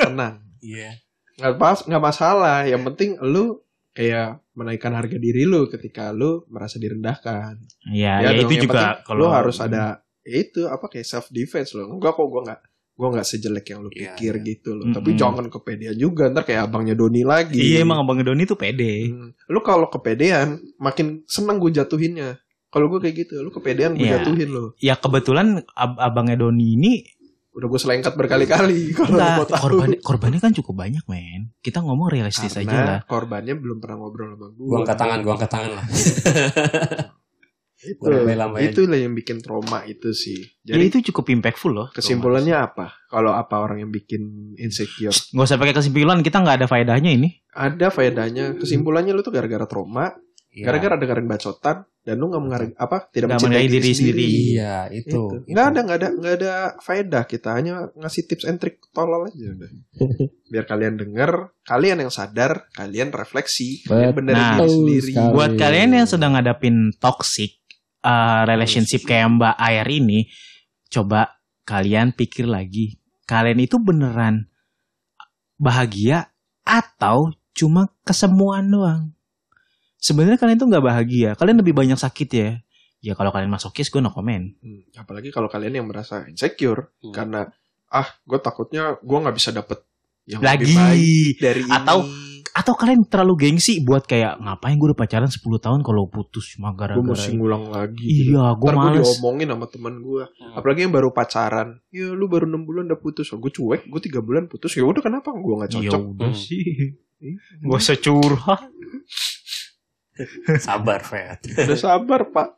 Speaker 2: tenang
Speaker 3: Iya.
Speaker 2: nggak pas nggak masalah yang penting lu kayak menaikkan harga diri lu ketika lu merasa direndahkan.
Speaker 1: Iya,
Speaker 2: Ya
Speaker 1: ya,
Speaker 2: dong,
Speaker 1: itu
Speaker 2: yang
Speaker 1: juga
Speaker 2: Lu
Speaker 1: kalau Hmm.
Speaker 2: harus ada ya itu apa kayak self defense lo. Enggak kok gua nggak gua nggak sejelek yang lu
Speaker 3: Iya,
Speaker 2: pikir
Speaker 3: iya.
Speaker 2: gitu loh. Tapi
Speaker 1: Mm-mm.
Speaker 2: jangan kepedean juga ntar kayak abangnya Doni lagi.
Speaker 1: Iya emang Abang Doni tuh pede.
Speaker 2: Hmm. Lu kalau kepedean makin seneng gue jatuhinnya. Kalau gue kayak gitu, lu kepedean gue
Speaker 1: Iya.
Speaker 2: jatuhin lo.
Speaker 1: Ya kebetulan ab- abangnya Doni ini
Speaker 2: Udah gue selengkat berkali-kali [laughs] kalau lu mau
Speaker 1: enggak,
Speaker 2: tahu. [laughs]
Speaker 1: korban korbannya kan cukup banyak men. Kita ngomong realistis aja
Speaker 2: Karena
Speaker 1: lah.
Speaker 2: korbannya belum pernah ngobrol sama gue.
Speaker 3: Gua angkat tangan, gua angkat tangan [laughs] lah.
Speaker 2: Itu,
Speaker 3: Gua rela-relain.
Speaker 2: Gitu. itulah yang bikin trauma itu sih.
Speaker 1: ya
Speaker 2: Jadi
Speaker 1: itu cukup impactful loh.
Speaker 2: kesimpulannya apa? Kalau apa orang yang bikin insecure?
Speaker 1: Gak usah pakai kesimpulan, kita nggak ada faedahnya ini.
Speaker 2: Ada faedahnya. Kesimpulannya lu tuh gara-gara trauma,
Speaker 3: Iya.
Speaker 2: gara-gara dengerin bacotan, dan lu nggak menghargai apa? Tidak
Speaker 1: Nggak
Speaker 2: mencintai
Speaker 1: menghargai
Speaker 2: diri,
Speaker 1: diri
Speaker 2: sendiri.
Speaker 1: sendiri.
Speaker 3: Iya, itu.
Speaker 2: Itu. Nggak ada, nggak ada, nggak ada faedah. Kita hanya ngasih tips and trick tolol aja
Speaker 1: [laughs]
Speaker 2: udah. Biar kalian denger, kalian yang sadar, kalian refleksi, kalian
Speaker 4: Betul
Speaker 2: benerin
Speaker 1: Nah,
Speaker 2: diri sendiri.
Speaker 4: sekali.
Speaker 1: Buat
Speaker 4: Amin.
Speaker 2: iya,
Speaker 1: kalian yang sedang ngadapin toxic uh,
Speaker 2: Iya,
Speaker 1: relationship kayak Mbak Air ini, coba kalian pikir lagi, kalian itu beneran bahagia atau cuma kesemuan doang? Sebenarnya kalian tuh nggak bahagia, kalian lebih banyak sakit ya. Ya kalau kalian masokis gue no comment.
Speaker 2: Hmm, Apalagi kalau kalian yang merasa insecure
Speaker 3: Hmm.
Speaker 2: karena ah gue takutnya gue nggak bisa dapet yang
Speaker 1: Lagi
Speaker 2: lebih baik dari
Speaker 1: Atau-
Speaker 2: ini.
Speaker 1: atau kalian terlalu gengsi buat kayak ngapain gue udah pacaran 10 tahun kalau putus cuma
Speaker 2: gue
Speaker 1: gara-gara.
Speaker 2: mesti ngulang lagi. gitu.
Speaker 1: Iya, gue
Speaker 2: Ntar gue
Speaker 1: males.
Speaker 2: diomongin sama teman gue.
Speaker 3: Hmm.
Speaker 2: Apalagi yang baru pacaran. Ya lu baru 6 bulan udah putus. gue cuek, gue 3 bulan putus. Ya udah kenapa gue gak
Speaker 1: Ya
Speaker 2: cocok.
Speaker 1: udah
Speaker 3: Hmm.
Speaker 1: sih. Gak usah curhat.
Speaker 3: Sabar, Fred.
Speaker 2: Udah sabar pak.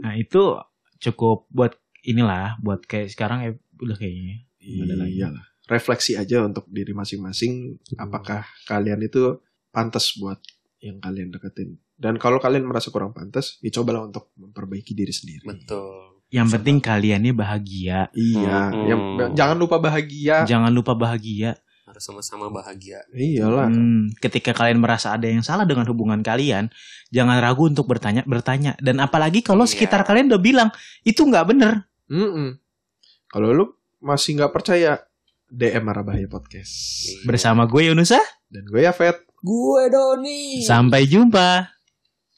Speaker 1: Nah itu cukup buat inilah buat kayak sekarang ya udah kayaknya. Ada lagi.
Speaker 2: Iyalah. Iya Refleksi aja untuk diri masing-masing. Apakah kalian itu pantas buat yang kalian deketin. Dan kalau kalian merasa kurang pantas, ya cobalah untuk memperbaiki diri sendiri.
Speaker 3: Betul.
Speaker 1: Yang penting kaliannya bahagia.
Speaker 2: Iya,
Speaker 3: Hmm.
Speaker 2: yang- jangan lupa
Speaker 3: Ya.
Speaker 2: bahagia.
Speaker 1: Jangan lupa bahagia.
Speaker 3: Harus sama-sama bahagia.
Speaker 2: Iyalah.
Speaker 1: Hmm, ketika kalian merasa ada yang salah dengan hubungan kalian, jangan ragu untuk bertanya bertanya. Dan apalagi kalau
Speaker 3: Iya.
Speaker 1: sekitar kalian udah bilang itu nggak bener.
Speaker 2: Mm-mm. Kalau lu masih nggak percaya, DM Marabahaya Podcast.
Speaker 3: Iya.
Speaker 1: Bersama gue Yunusa.
Speaker 2: Dan gue Yafet.
Speaker 3: Gue Doni.
Speaker 1: Sampai jumpa.